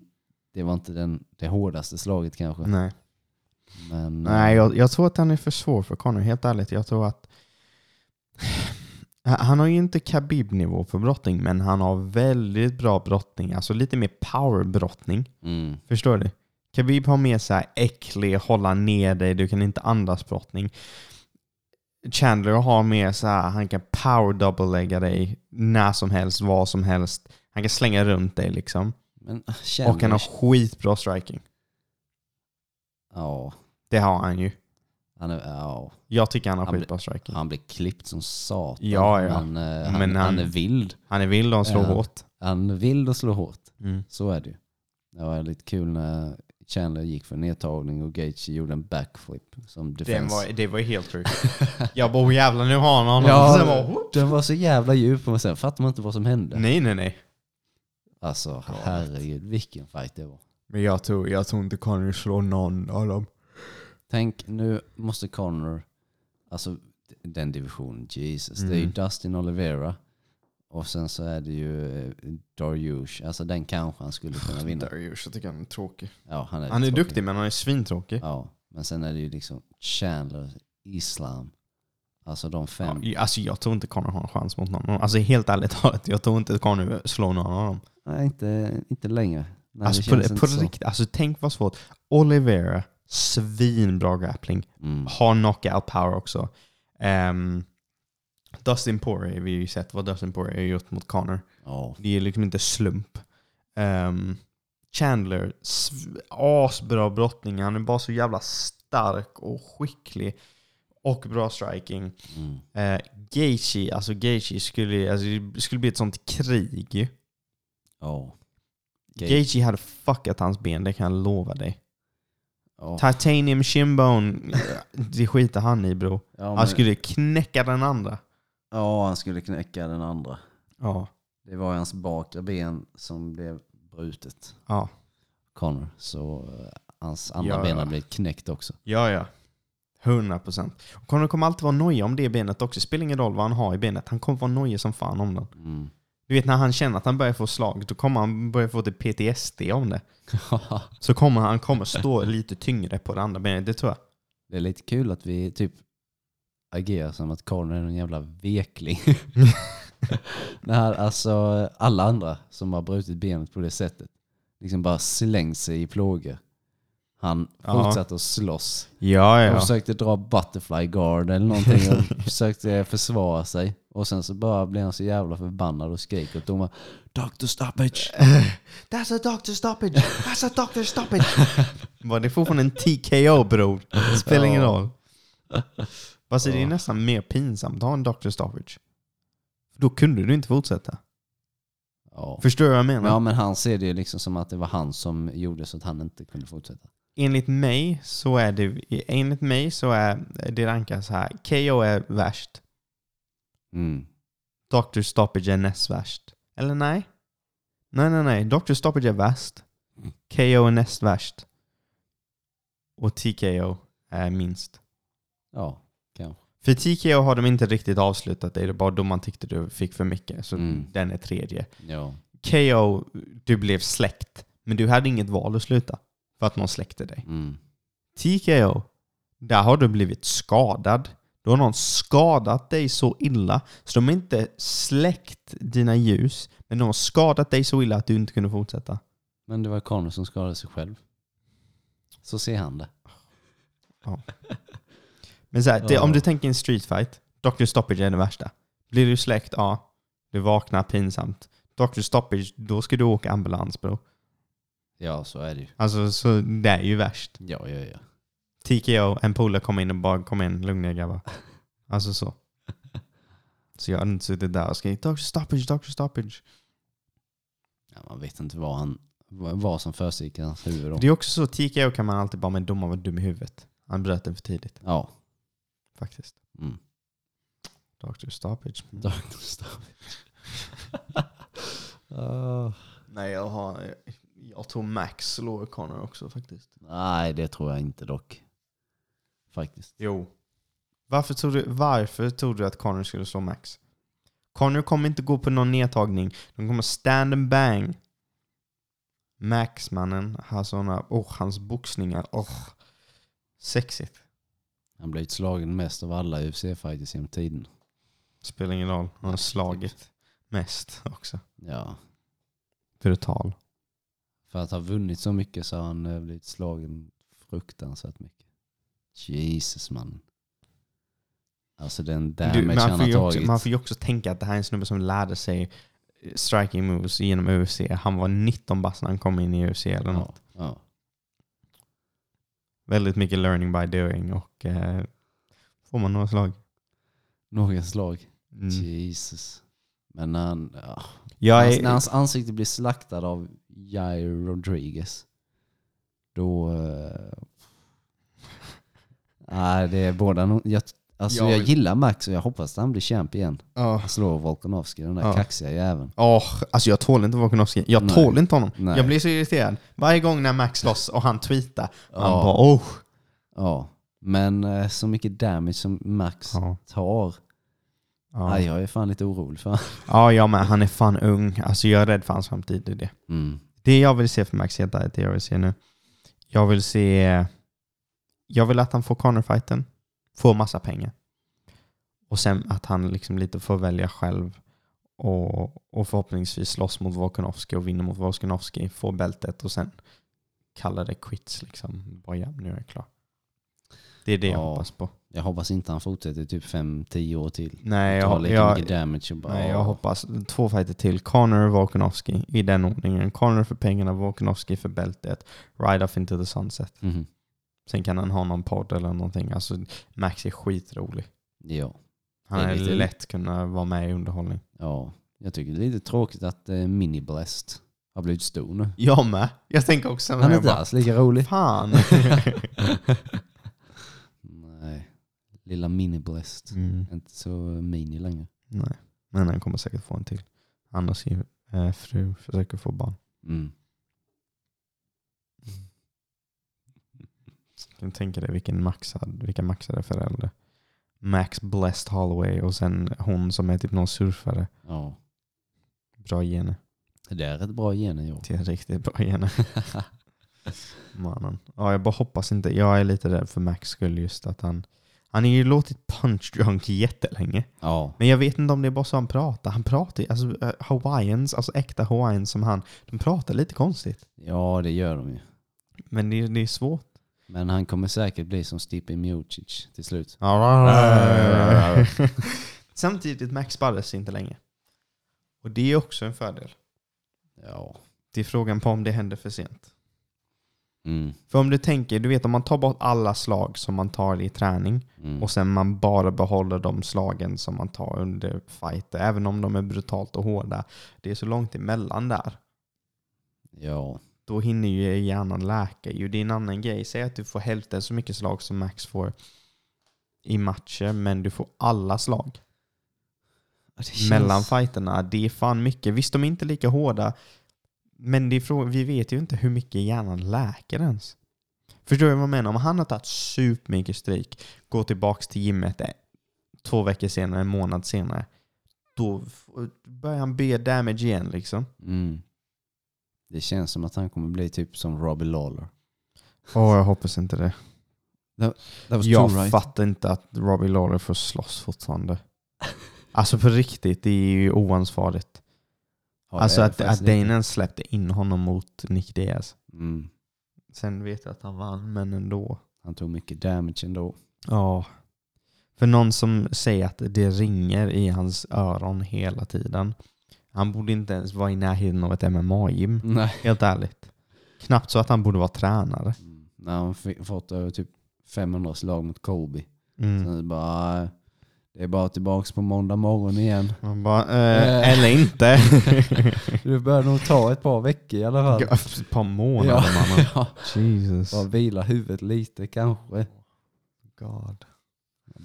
S3: det var inte den, det hårdaste slaget kanske.
S2: på. Nej,
S3: Men,
S2: Mm.
S3: eh,
S2: Nej jag, jag tror att han är för svår för Conor, helt ärligt. Jag tror att... Han har ju inte Khabib-nivå på brottning, men han har väldigt bra brottning. Alltså lite mer power-brottning.
S3: Mm,
S2: Förstår du? Khabib har mer så här äcklig, hålla ner dig, du kan inte andas brottning. Chandler har mer så här, han kan power double-lägga dig när som helst, var som helst. Han kan slänga runt dig liksom.
S3: men
S2: Och han
S3: Chandler,
S2: har skitbra striking.
S3: ja,
S2: Det har han ju.
S3: han, är, ja,
S2: Jag tycker han har
S3: Han blir-
S2: skitbra striking.
S3: han blir klippt som satan.
S2: Ja, ja.
S3: Men, eh, han,
S2: Men
S3: han,
S2: han-
S3: är vild.
S2: Han är vild och han slår
S3: Ja.
S2: hårt.
S3: Han vill och slår hårt.
S2: Mm.
S3: Så är det ju. Det var lite kul när Chandler gick för nedtagning och Gage gjorde en backflip som
S2: Den
S3: defense.
S2: var, det var ju helt sjukt. Jag bara oh, jävlar nu har han honom.
S3: Ja,
S2: Sen bara, oh.
S3: den var så jävla djup och sen fattar man inte vad som hände.
S2: Nej nej nej.
S3: Alltså herregud vilken fight det var.
S2: Men jag tror, jag tror inte Conny slår någon av dem.
S3: Tänk nu måste Connor, alltså den divisionen, Jesus. Det är ju
S2: Mm.
S3: Dustin Olivera och sen så är det ju eh, Dariush. Alltså den kanske han skulle kunna vinna.
S2: Darius, jag tycker han är tråkig.
S3: Ja, han är,
S2: Han är
S3: tråkig.
S2: duktig men han är svintråkig.
S3: Ja, men sen är det ju liksom Chandler, Islam. Alltså de fem.
S2: Ja, alltså jag tror inte Conor har en chans mot någon. Alltså helt ärligt talat, jag tror inte Conor slår någon av dem.
S3: Nej, inte, inte längre. Nej,
S2: alltså
S3: det
S2: på,
S3: känns
S2: det-
S3: inte
S2: på
S3: så.
S2: riktigt, alltså tänk vad svårt. Olivera, svinbra grappling.
S3: Mm.
S2: har knockout power också. Ehm, Dustin Poirier, vi har ju sett vad Dustin Poirier har gjort mot Connor.
S3: Ja,
S2: Det är liksom inte slump. Ehm, Chandler, sv- asbra brottning. Han är bara så jävla stark och skicklig. Och bra striking.
S3: mm.
S2: Uh, Gaethje, alltså Gaethje skulle, alltså det skulle bli ett sånt krig ju.
S3: ja. Gaethje.
S2: Gaethje hade fuckat hans ben, det kan jag lova dig.
S3: Ja.
S2: Titanium shinbone, det skiter han i bro.
S3: Ja,
S2: Han
S3: men,
S2: skulle knäcka den andra.
S3: Ja, han skulle knäcka den andra.
S2: Ja.
S3: Det var hans bakre ben som blev brutet.
S2: Ja.
S3: Connor. Så eh, hans andra
S2: Ja,
S3: ben
S2: ja.
S3: hade blivit knäckt också.
S2: Ja, ja. 100 procent. Connor kommer alltid vara nojig om det benet också. Spelar ingen roll vad han har i benet. Han kommer vara nojig som fan om den.
S3: Mm.
S2: Du vet när han känner att han börjar få slag, då kommer han börja få typ PTSD om det. Så kommer han kommer stå lite tyngre på det andra benet, det tror jag.
S3: det är lite kul att vi typ agerar som att Connor är någon jävla vekling. När alltså alla andra som har brutit benet på det sättet liksom bara slängt sig i plågor. Han
S2: Ja.
S3: fortsatte att slåss.
S2: Ja,
S3: Han försökte dra butterfly guard eller någonting och försökte försvara sig. Och sen så bara blev han så jävla förbannad och skrek åt domaren Dr. Stoppage!
S2: That's a doctor stoppage! That's a doctor stoppage! Var det är fortfarande en TKO bror? Det Spelar ingen roll. Fast det är nästan mer pinsamt att ha en doctor stoppage. För då kunde du inte fortsätta.
S3: Ja.
S2: Förstår du vad jag menar?
S3: ja men han ser det ju liksom som att det var han som gjorde så att han inte kunde fortsätta.
S2: enligt mig så är det, enligt mig så är det rankas här. KO är värst.
S3: Mm.
S2: Dr. Stoppage är näst värst. Eller nej? Nej, nej, nej. Dr. Stoppage är värst. KO är näst värst. Och TKO är minst.
S3: Ja, kanske.
S2: För TKO har de inte riktigt avslutat. Det är bara då man tyckte du fick för mycket. Så
S3: Mm.
S2: den är tredje.
S3: Ja.
S2: KO, du blev släkt. Men du hade inget val att sluta. För att någon släckte dig.
S3: Mm.
S2: TKO, där har du blivit skadad. Då har någon skadat dig så illa så de har inte släckt dina ljus, men de har skadat dig så illa att du inte kunde fortsätta.
S3: Men det var Connor som skadade sig själv. Så ser han det.
S2: Men så här, det,
S3: Ja.
S2: om du tänker en street fight, Dr. Stoppage är det värsta. Blir du släckt, ja. Du vaknar pinsamt. Dr. Stoppage, då ska du åka ambulans bro.
S3: Ja, så är det ju.
S2: Alltså, så det är ju värst.
S3: Ja, ja, ja.
S2: TKO, en polare kom in och bara kom in, lugna er grabbar. Alltså så. Så jag hade inte suttit där och skrikit Dr. Stoppage, Dr. Stoppage.
S3: ja man vet inte vad, han, vad vad som försiggick i hans huvud då.
S2: Det är också så, TKO kan man alltid bara, men domaren var dum i huvudet. Han bröt den för tidigt,
S3: Ja.
S2: faktiskt.
S3: Mm.
S2: Dr. Stoppage.
S3: Dr. Stavage. Ah.
S2: Nej, jag har... Jag tror Max slår Connor också faktiskt.
S3: Nej, det tror jag inte dock. Faktiskt.
S2: Jo. Varför tror du, varför tror du att Connor skulle slå Max? Connor kommer inte gå på någon nedtagning. De kommer stand and bang. Max, mannen, har såna... Oh, hans boxningar. Oh. Sexigt.
S3: Han blivit slagen mest av alla UFC-fighters genom tiden.
S2: Spelar ingen roll. Han har slagit mest också.
S3: Ja.
S2: Brutal.
S3: För att ha vunnit så mycket så har han eh, blivit slagen fruktansvärt mycket. Jesus man. Alltså den damage
S2: Du, man,
S3: han
S2: får
S3: har
S2: ju också,
S3: tagit.
S2: man får ju också tänka att det här är en snubbe som lärde sig striking moves genom UFC. Han var 19 bast när han kom in i UFC. Eller
S3: ja,
S2: något.
S3: ja.
S2: Väldigt mycket learning by doing och eh, får man några slag.
S3: Några slag.
S2: Mm.
S3: Jesus. Men när, han, ja.
S2: Jag
S3: hans, när
S2: är,
S3: hans ansikte blir slaktad av Jair Rodriguez. Då... eh, Nej, det är båda nog... Jag, alltså
S2: Jag
S3: jag,
S2: vill-
S3: gillar Max och jag hoppas att han blir champ igen.
S2: Ja.
S3: Han slår Volkanovski, den där
S2: Ja.
S3: kaxiga jäveln.
S2: Åh, alltså jag tål inte Volkanovski. Jag
S3: Nej.
S2: tål inte honom.
S3: Nej.
S2: Jag blir så irriterad. Varje gång när Max slåss och han tweetar. Man
S3: Ja.
S2: bara oh.
S3: Ja. Men eh, så mycket damage som Max
S2: Ja.
S3: tar.
S2: Ja.
S3: Aj, jag är fan lite orolig för honom.
S2: ja, jag med. Han är fan ung. Alltså jag är rädd för hans framtid. Det är det.
S3: Mm.
S2: Det jag vill se för Max Hedda är det jag vill se nu. Jag vill se... Jag vill att han får cornerfighten, får massa pengar. Och sen att han liksom lite får välja själv och, och förhoppningsvis slåss mot Volkanovski och vinna mot Volkanovski, få bältet och sen kalla det quits liksom. Bara ja, nu är jag klar. Det är det jag
S3: Ja.
S2: hoppas på.
S3: Jag hoppas inte han fortsätter typ 5-10 år till.
S2: Nej,
S3: tar
S2: jag,
S3: lika
S2: jag,
S3: mycket damage och bara...
S2: Nej, jag hoppas två fighter till. Connor och Volkanovski i den ordningen. Connor för pengarna, Volkanovski för bältet. Ride off into the sunset.
S3: Mhm.
S2: Sen kan han ha någon podd eller någonting. Alltså, Max är skitrolig.
S3: Ja.
S2: Han
S3: Det är
S2: hade
S3: lite-
S2: lätt kunnat vara med i underhållning.
S3: Ja, jag tycker det är lite tråkigt att eh, Mini Blast har blivit stor nu.
S2: Jag med. Jag tänker också när
S3: Han är
S2: jag
S3: inte
S2: bara,
S3: alls lika rolig.
S2: fan.
S3: Nej, lilla Mini Blast.
S2: mm.
S3: Mm. Inte så eh, mini längre.
S2: Nej, men han kommer säkert få en till. Han och sin eh, fru försöker få barn.
S3: Mm.
S2: Kan du tänka dig vilken maxad, vilka maxade föräldrar? Max Blessed Holloway och sen hon som är typ någon surfare.
S3: Ja.
S2: Bra gener.
S3: Det är ett bra genio.
S2: Det är riktigt bra gener. Mannen. Ja, jag bara hoppas inte. Jag är lite rädd för Max skull just att han... Han har ju låtit punch drunk jättelänge.
S3: ja.
S2: Men jag vet inte om det är bara så han pratar. Han pratar ju, alltså eh, hawaiians, alltså äkta hawaiians som han, de pratar lite konstigt.
S3: ja, det gör de ju.
S2: Men det, är- det är svårt.
S3: Men han kommer säkert bli som Stipe Miocic till slut.
S2: Samtidigt Max Barres inte längre. Och det är också en fördel.
S3: Ja.
S2: Det är frågan på om det händer för sent.
S3: Mm.
S2: För om du tänker, du vet om man tar bort alla slag som man tar i träning
S3: Mm.
S2: och sen man bara behåller de slagen som man tar under fighter, även om de är brutalt och hårda. Det är så långt emellan där.
S3: Ja.
S2: då hinner ju hjärnan läka. Ju, det är en annan grej. Säg att du får hälften så mycket slag som Max får i matcher, men du får alla slag mellan fighterna. Det är fan mycket. Visst, de är inte lika hårda, men det är frå- vi vet ju inte hur mycket hjärnan läker ens. Förstår du vad jag menar? Om han har tagit supermycket stryk, går tillbaks till gymmet eh, två veckor senare, en månad senare, då f- börjar han be damage igen liksom.
S3: Mm. Det känns som att han kommer bli typ som Robbie Lawler.
S2: Åh, jag hoppas inte det.
S3: That was
S2: Jag
S3: too right.
S2: fattar inte att Robbie Lawler får slåss fortfarande. Alltså på riktigt, det är ju oansvarigt.
S3: Ja, det
S2: alltså
S3: är
S2: att,
S3: faktiskt
S2: att Dane ens släppte in honom mot Nick Diaz.
S3: lite. Mm.
S2: Sen vet jag att han vann, men ändå.
S3: Han tog mycket damage ändå.
S2: Ja. För någon som säger att det ringer i hans öron hela tiden. Han borde inte ens vara i närheten av ett MMA-gym.
S3: Nej.
S2: Helt ärligt. Knappt så att han borde vara tränare.
S3: Mm. När han fi- fått över typ 500 slag mot Colby.
S2: Mm.
S3: Sen bara, eh, det är bara tillbaks på måndag morgon igen.
S2: Man bara, eh,
S3: Eh.
S2: eller inte.
S3: Du bör nog ta ett par veckor i alla fall.
S2: Ett par månader mannen.
S3: ja.
S2: Jesus.
S3: Bara vila huvudet lite kanske.
S2: God.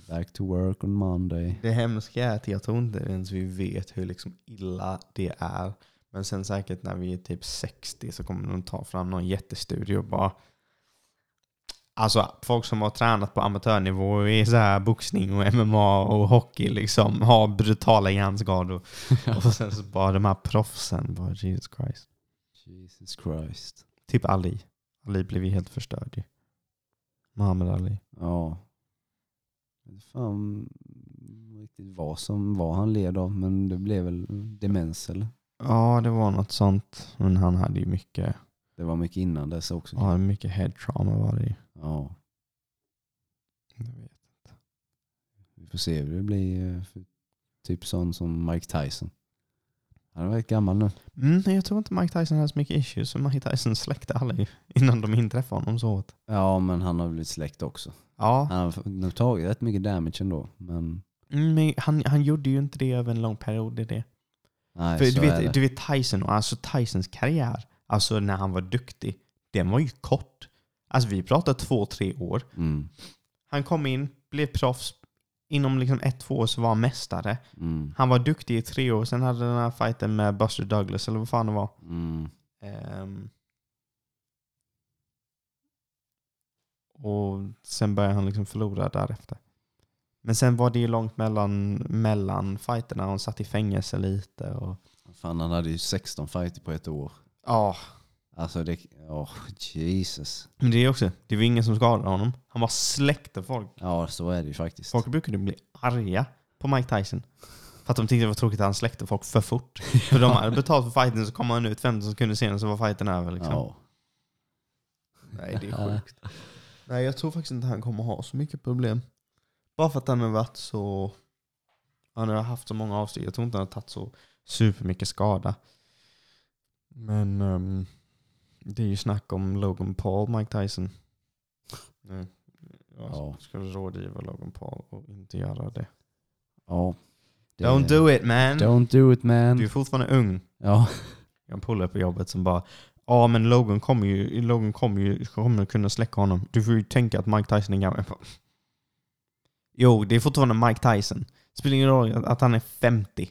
S3: Back to work on Monday.
S2: Det hemska är att jag tror inte ens vi vet hur liksom illa det är. Men sen säkert när vi är typ 60 så kommer de ta fram någon jättestudio och bara... Alltså folk som har tränat på amatörnivå i så här boxning och MMA och hockey liksom har brutala hjärnskador. Och sen så bara de här proffsen, bara Jesus Christ.
S3: Jesus Christ.
S2: Typ Ali. Ali blev ju helt förstörd ju. Muhammad Ali.
S3: Ja. Jag vet Fan riktigt vad som var han led av men det blev väl demens eller?
S2: Ja, det var något sånt. Men han hade ju mycket,
S3: Det var mycket innan dess också.
S2: ja, mycket head trauma var det ju.
S3: Ja.
S2: Jag vet.
S3: Vi får se hur det blir. eh, För typ sån som Mike Tyson. Han är väldigt gammal nu.
S2: Mm, nej, jag tror inte Mike Tyson hade så mycket issues, så Mike Tyson släckte alla ju innan de inträffade honom så hårt.
S3: Ja men han har blivit släkt också.
S2: Ja,
S3: Han har nog tagit rätt mycket damage ändå. Men
S2: mm, men han, han gjorde ju inte det över en lång period. Det är det.
S3: nej
S2: För
S3: så
S2: du
S3: är det.
S2: vet, du vet Tyson, och alltså Tysons karriär, alltså när han var duktig, den var ju kort. Alltså vi pratar två, tre år.
S3: Mm,
S2: Han kom in, blev proffs, inom liksom ett, två år så var han mästare.
S3: mm,
S2: Han var duktig i tre år, sen hade den här fighten med Buster Douglas, eller vad fan det var.
S3: mm.
S2: Ehm. och sen började han liksom förlora därefter. Men sen var det ju långt mellan, mellan fighterna. Han satt i fängelse lite. Och,
S3: Fan han hade ju 16 fighter på ett år.
S2: ja,
S3: Alltså det, åh Jesus.
S2: men det är också, det var ingen som skadade honom. Han var släkt av folk.
S3: Ja så är det ju faktiskt.
S2: Folk brukade bli arga på Mike Tyson. För att de tyckte det var tråkigt att han släckte folk för fort. För de hade betalt för fighten så kom han ut 15 sekunder senare så var fighten över. Liksom.
S3: Ja.
S2: Nej, det är sjukt. Nej, jag tror faktiskt inte han kommer ha så mycket problem. Bara för att han har varit så... Han har haft så många avsteg. Jag tror inte han har tagit så supermycket skada. Men ehm, det är ju snack om Logan Paul, Mike Tyson. Nu, jag
S3: Ja.
S2: ska rådgiva Logan Paul och inte göra det.
S3: ja. Det-
S2: Don't do it man!
S3: Don't do it man.
S2: Du är fortfarande ung.
S3: Ja.
S2: Jag har en polare på jobbet som bara Ja men Logan kommer ju, Logan kommer ju kommer kunna släcka honom. Du får ju tänka att Mike Tyson är gammal. Jag bara, Jo, det är fortfarande Mike Tyson. Spelar ingen roll att- att han är 50.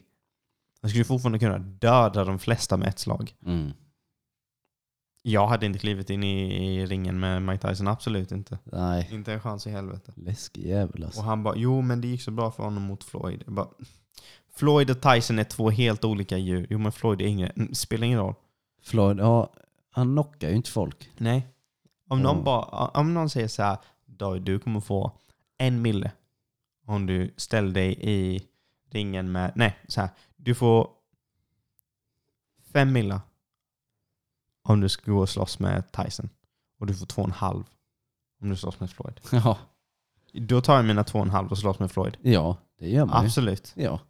S2: Han skulle fortfarande kunna döda de flesta med ett slag.
S3: Mm.
S2: Jag hade inte klivit in i, i ringen med Mike Tyson, absolut inte.
S3: Nej,
S2: Inte en chans i helvete.
S3: läskig jävel
S2: Och
S3: alltså.
S2: han bara, jo men det gick så bra för honom mot Floyd. Jag bara, Floyd och Tyson är två helt olika djur. Jo men Floyd är yngre. Mm, Spelar ingen roll.
S3: Floyd, ja, han knockar ju inte folk.
S2: Nej. Om,
S3: Ja.
S2: någon, bara, om någon säger så här, David du kommer få en mille om du ställer dig i ringen med, nej så här, du får fem milla om du ska gå och slåss med Tyson. Och du får två och en halv om du slåss med Floyd.
S3: Ja,
S2: Då tar jag mina två och en halv och slåss med Floyd.
S3: ja det gör man ju.
S2: Absolut.
S3: Ja.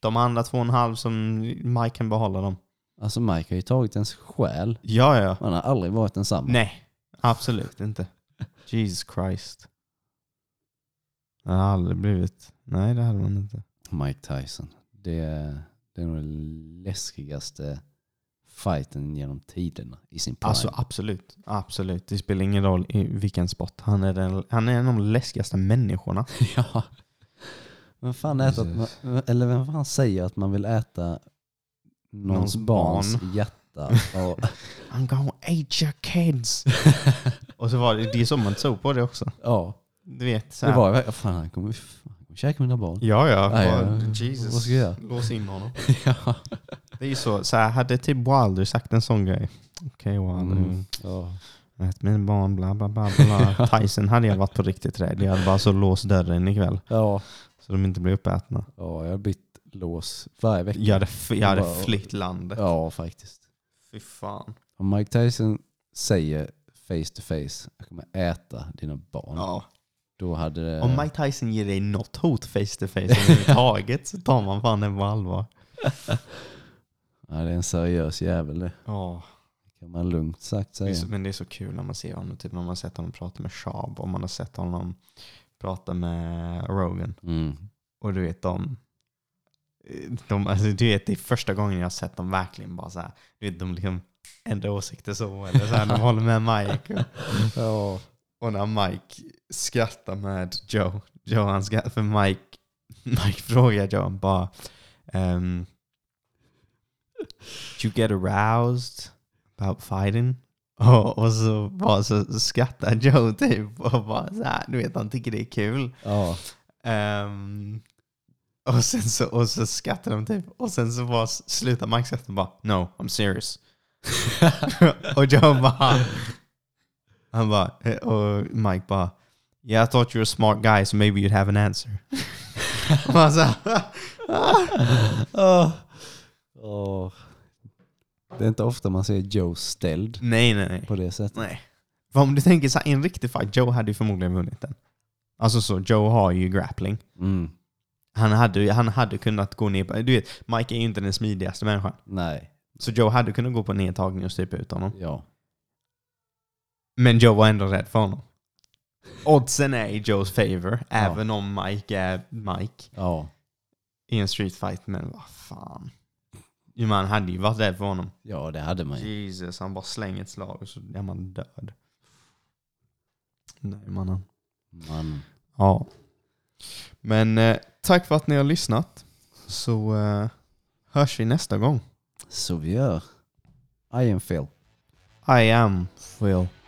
S2: De andra två och en halv som Mike kan behålla dem.
S3: Alltså Mike har ju tagit ens själ.
S2: Ja, ja, ja.
S3: Han har aldrig varit densamma.
S2: Nej, absolut inte. Jesus Christ. Det hade aldrig blivit. Nej, det hade man inte.
S3: Mike Tyson. Det, det är nog den läskigaste fighten genom tiderna i sin prime.
S2: Alltså absolut. Absolut. Det spelar ingen roll i vilken sport. Han är, den, han är en av de läskigaste människorna.
S3: ja. Vem fan, äter att
S2: Precis.
S3: man, eller vem fan säger att man vill äta någons
S2: Någons
S3: barns hjärta? Och,
S2: I'm gonna eat your kids. Och så var det, det är så man såg på det också.
S3: ja,
S2: Du vet. Så
S3: det
S2: här.
S3: var ju... Fan, han kommer fan, han kommer käka mina barn.
S2: Ja, ja.
S3: Nej,
S2: bara,
S3: ja.
S2: Jesus.
S3: Vad ska jag göra?
S2: Lås in honom.
S3: ja.
S2: Det är ju så. så här, hade typ Wilder sagt en sån grej. Okej Wilder.
S3: Mm. ja.
S2: Ät mina barn, bla bla bla. bla. Tyson hade jag varit på riktigt rädd. Jag hade bara så låst dörren ikväll.
S3: Ja.
S2: Så de inte blir uppätna.
S3: ja, jag har bytt lås varje vecka.
S2: Jag hade, f- jag hade
S3: Wow.
S2: flytt landet.
S3: Ja, faktiskt.
S2: Fy fan.
S3: Om Mike Tyson säger face to face, jag kommer äta dina barn.
S2: Ja.
S3: Då hade det...
S2: Om Mike Tyson ger dig något hot face to face överhuvudtaget så tar man fan den på allvar.
S3: Ja, det är en seriös jävel det.
S2: Ja.
S3: Kan man lugnt sagt
S2: Det är
S3: säga.
S2: så- Men det är så kul när man ser honom. Typ när man har sett honom prata med Shab och man har sett honom prata med Rogan.
S3: Mm.
S2: Och du vet de, de alltså, du vet det är första gången jag har sett dem verkligen bara så här, du vet de liksom ändrar åsikter så eller så här, de håller med Mike.
S3: Ja.
S2: Och, och när Mike skrattar med Joe, Joe han skrattar för Mike, Mike frågar Joe bara ehm, You get aroused about fighting? Och, och så bara så skrattar Joe typ och bara så här, du vet han tycker det är kul.
S3: ja.
S2: Ehm, och, sen så, och så skrattade de typ. Och sen så bara s- slutar Mike skratta och bara No, I'm serious. och Joe bara... Han bara... eh, Och Mike bara Yeah, I thought you were a smart guy so maybe you'd have an answer. och man så,
S3: Åh. Åh. Det är inte ofta man ser Joe ställd
S2: nej, nej, nej.
S3: på det sättet.
S2: nej. För om du tänker så här, i en riktig fight, Joe hade ju förmodligen vunnit den. Alltså så, Joe har ju grappling.
S3: Mm.
S2: Han hade, han hade kunnat gå ner på... Du vet, Mike är ju inte den smidigaste människan.
S3: Nej.
S2: Så Joe hade kunnat gå på nedtagning och strypa ut honom.
S3: Ja.
S2: Men Joe var ändå rädd för honom. Oddsen är i Joes favor, även om Mike är Mike
S3: Ja.
S2: i en street fight. Men vad fan. Jo, Man hade ju varit rädd för honom.
S3: Ja, det hade man ju.
S2: Jesus, han bara slänger ett slag och så är man död. Nej, mannen.
S3: Man.
S2: Ja. Men eh, tack för att ni har lyssnat. Så eh, hörs vi nästa gång.
S3: Så vi gör. I am Phil.
S2: I am Phil.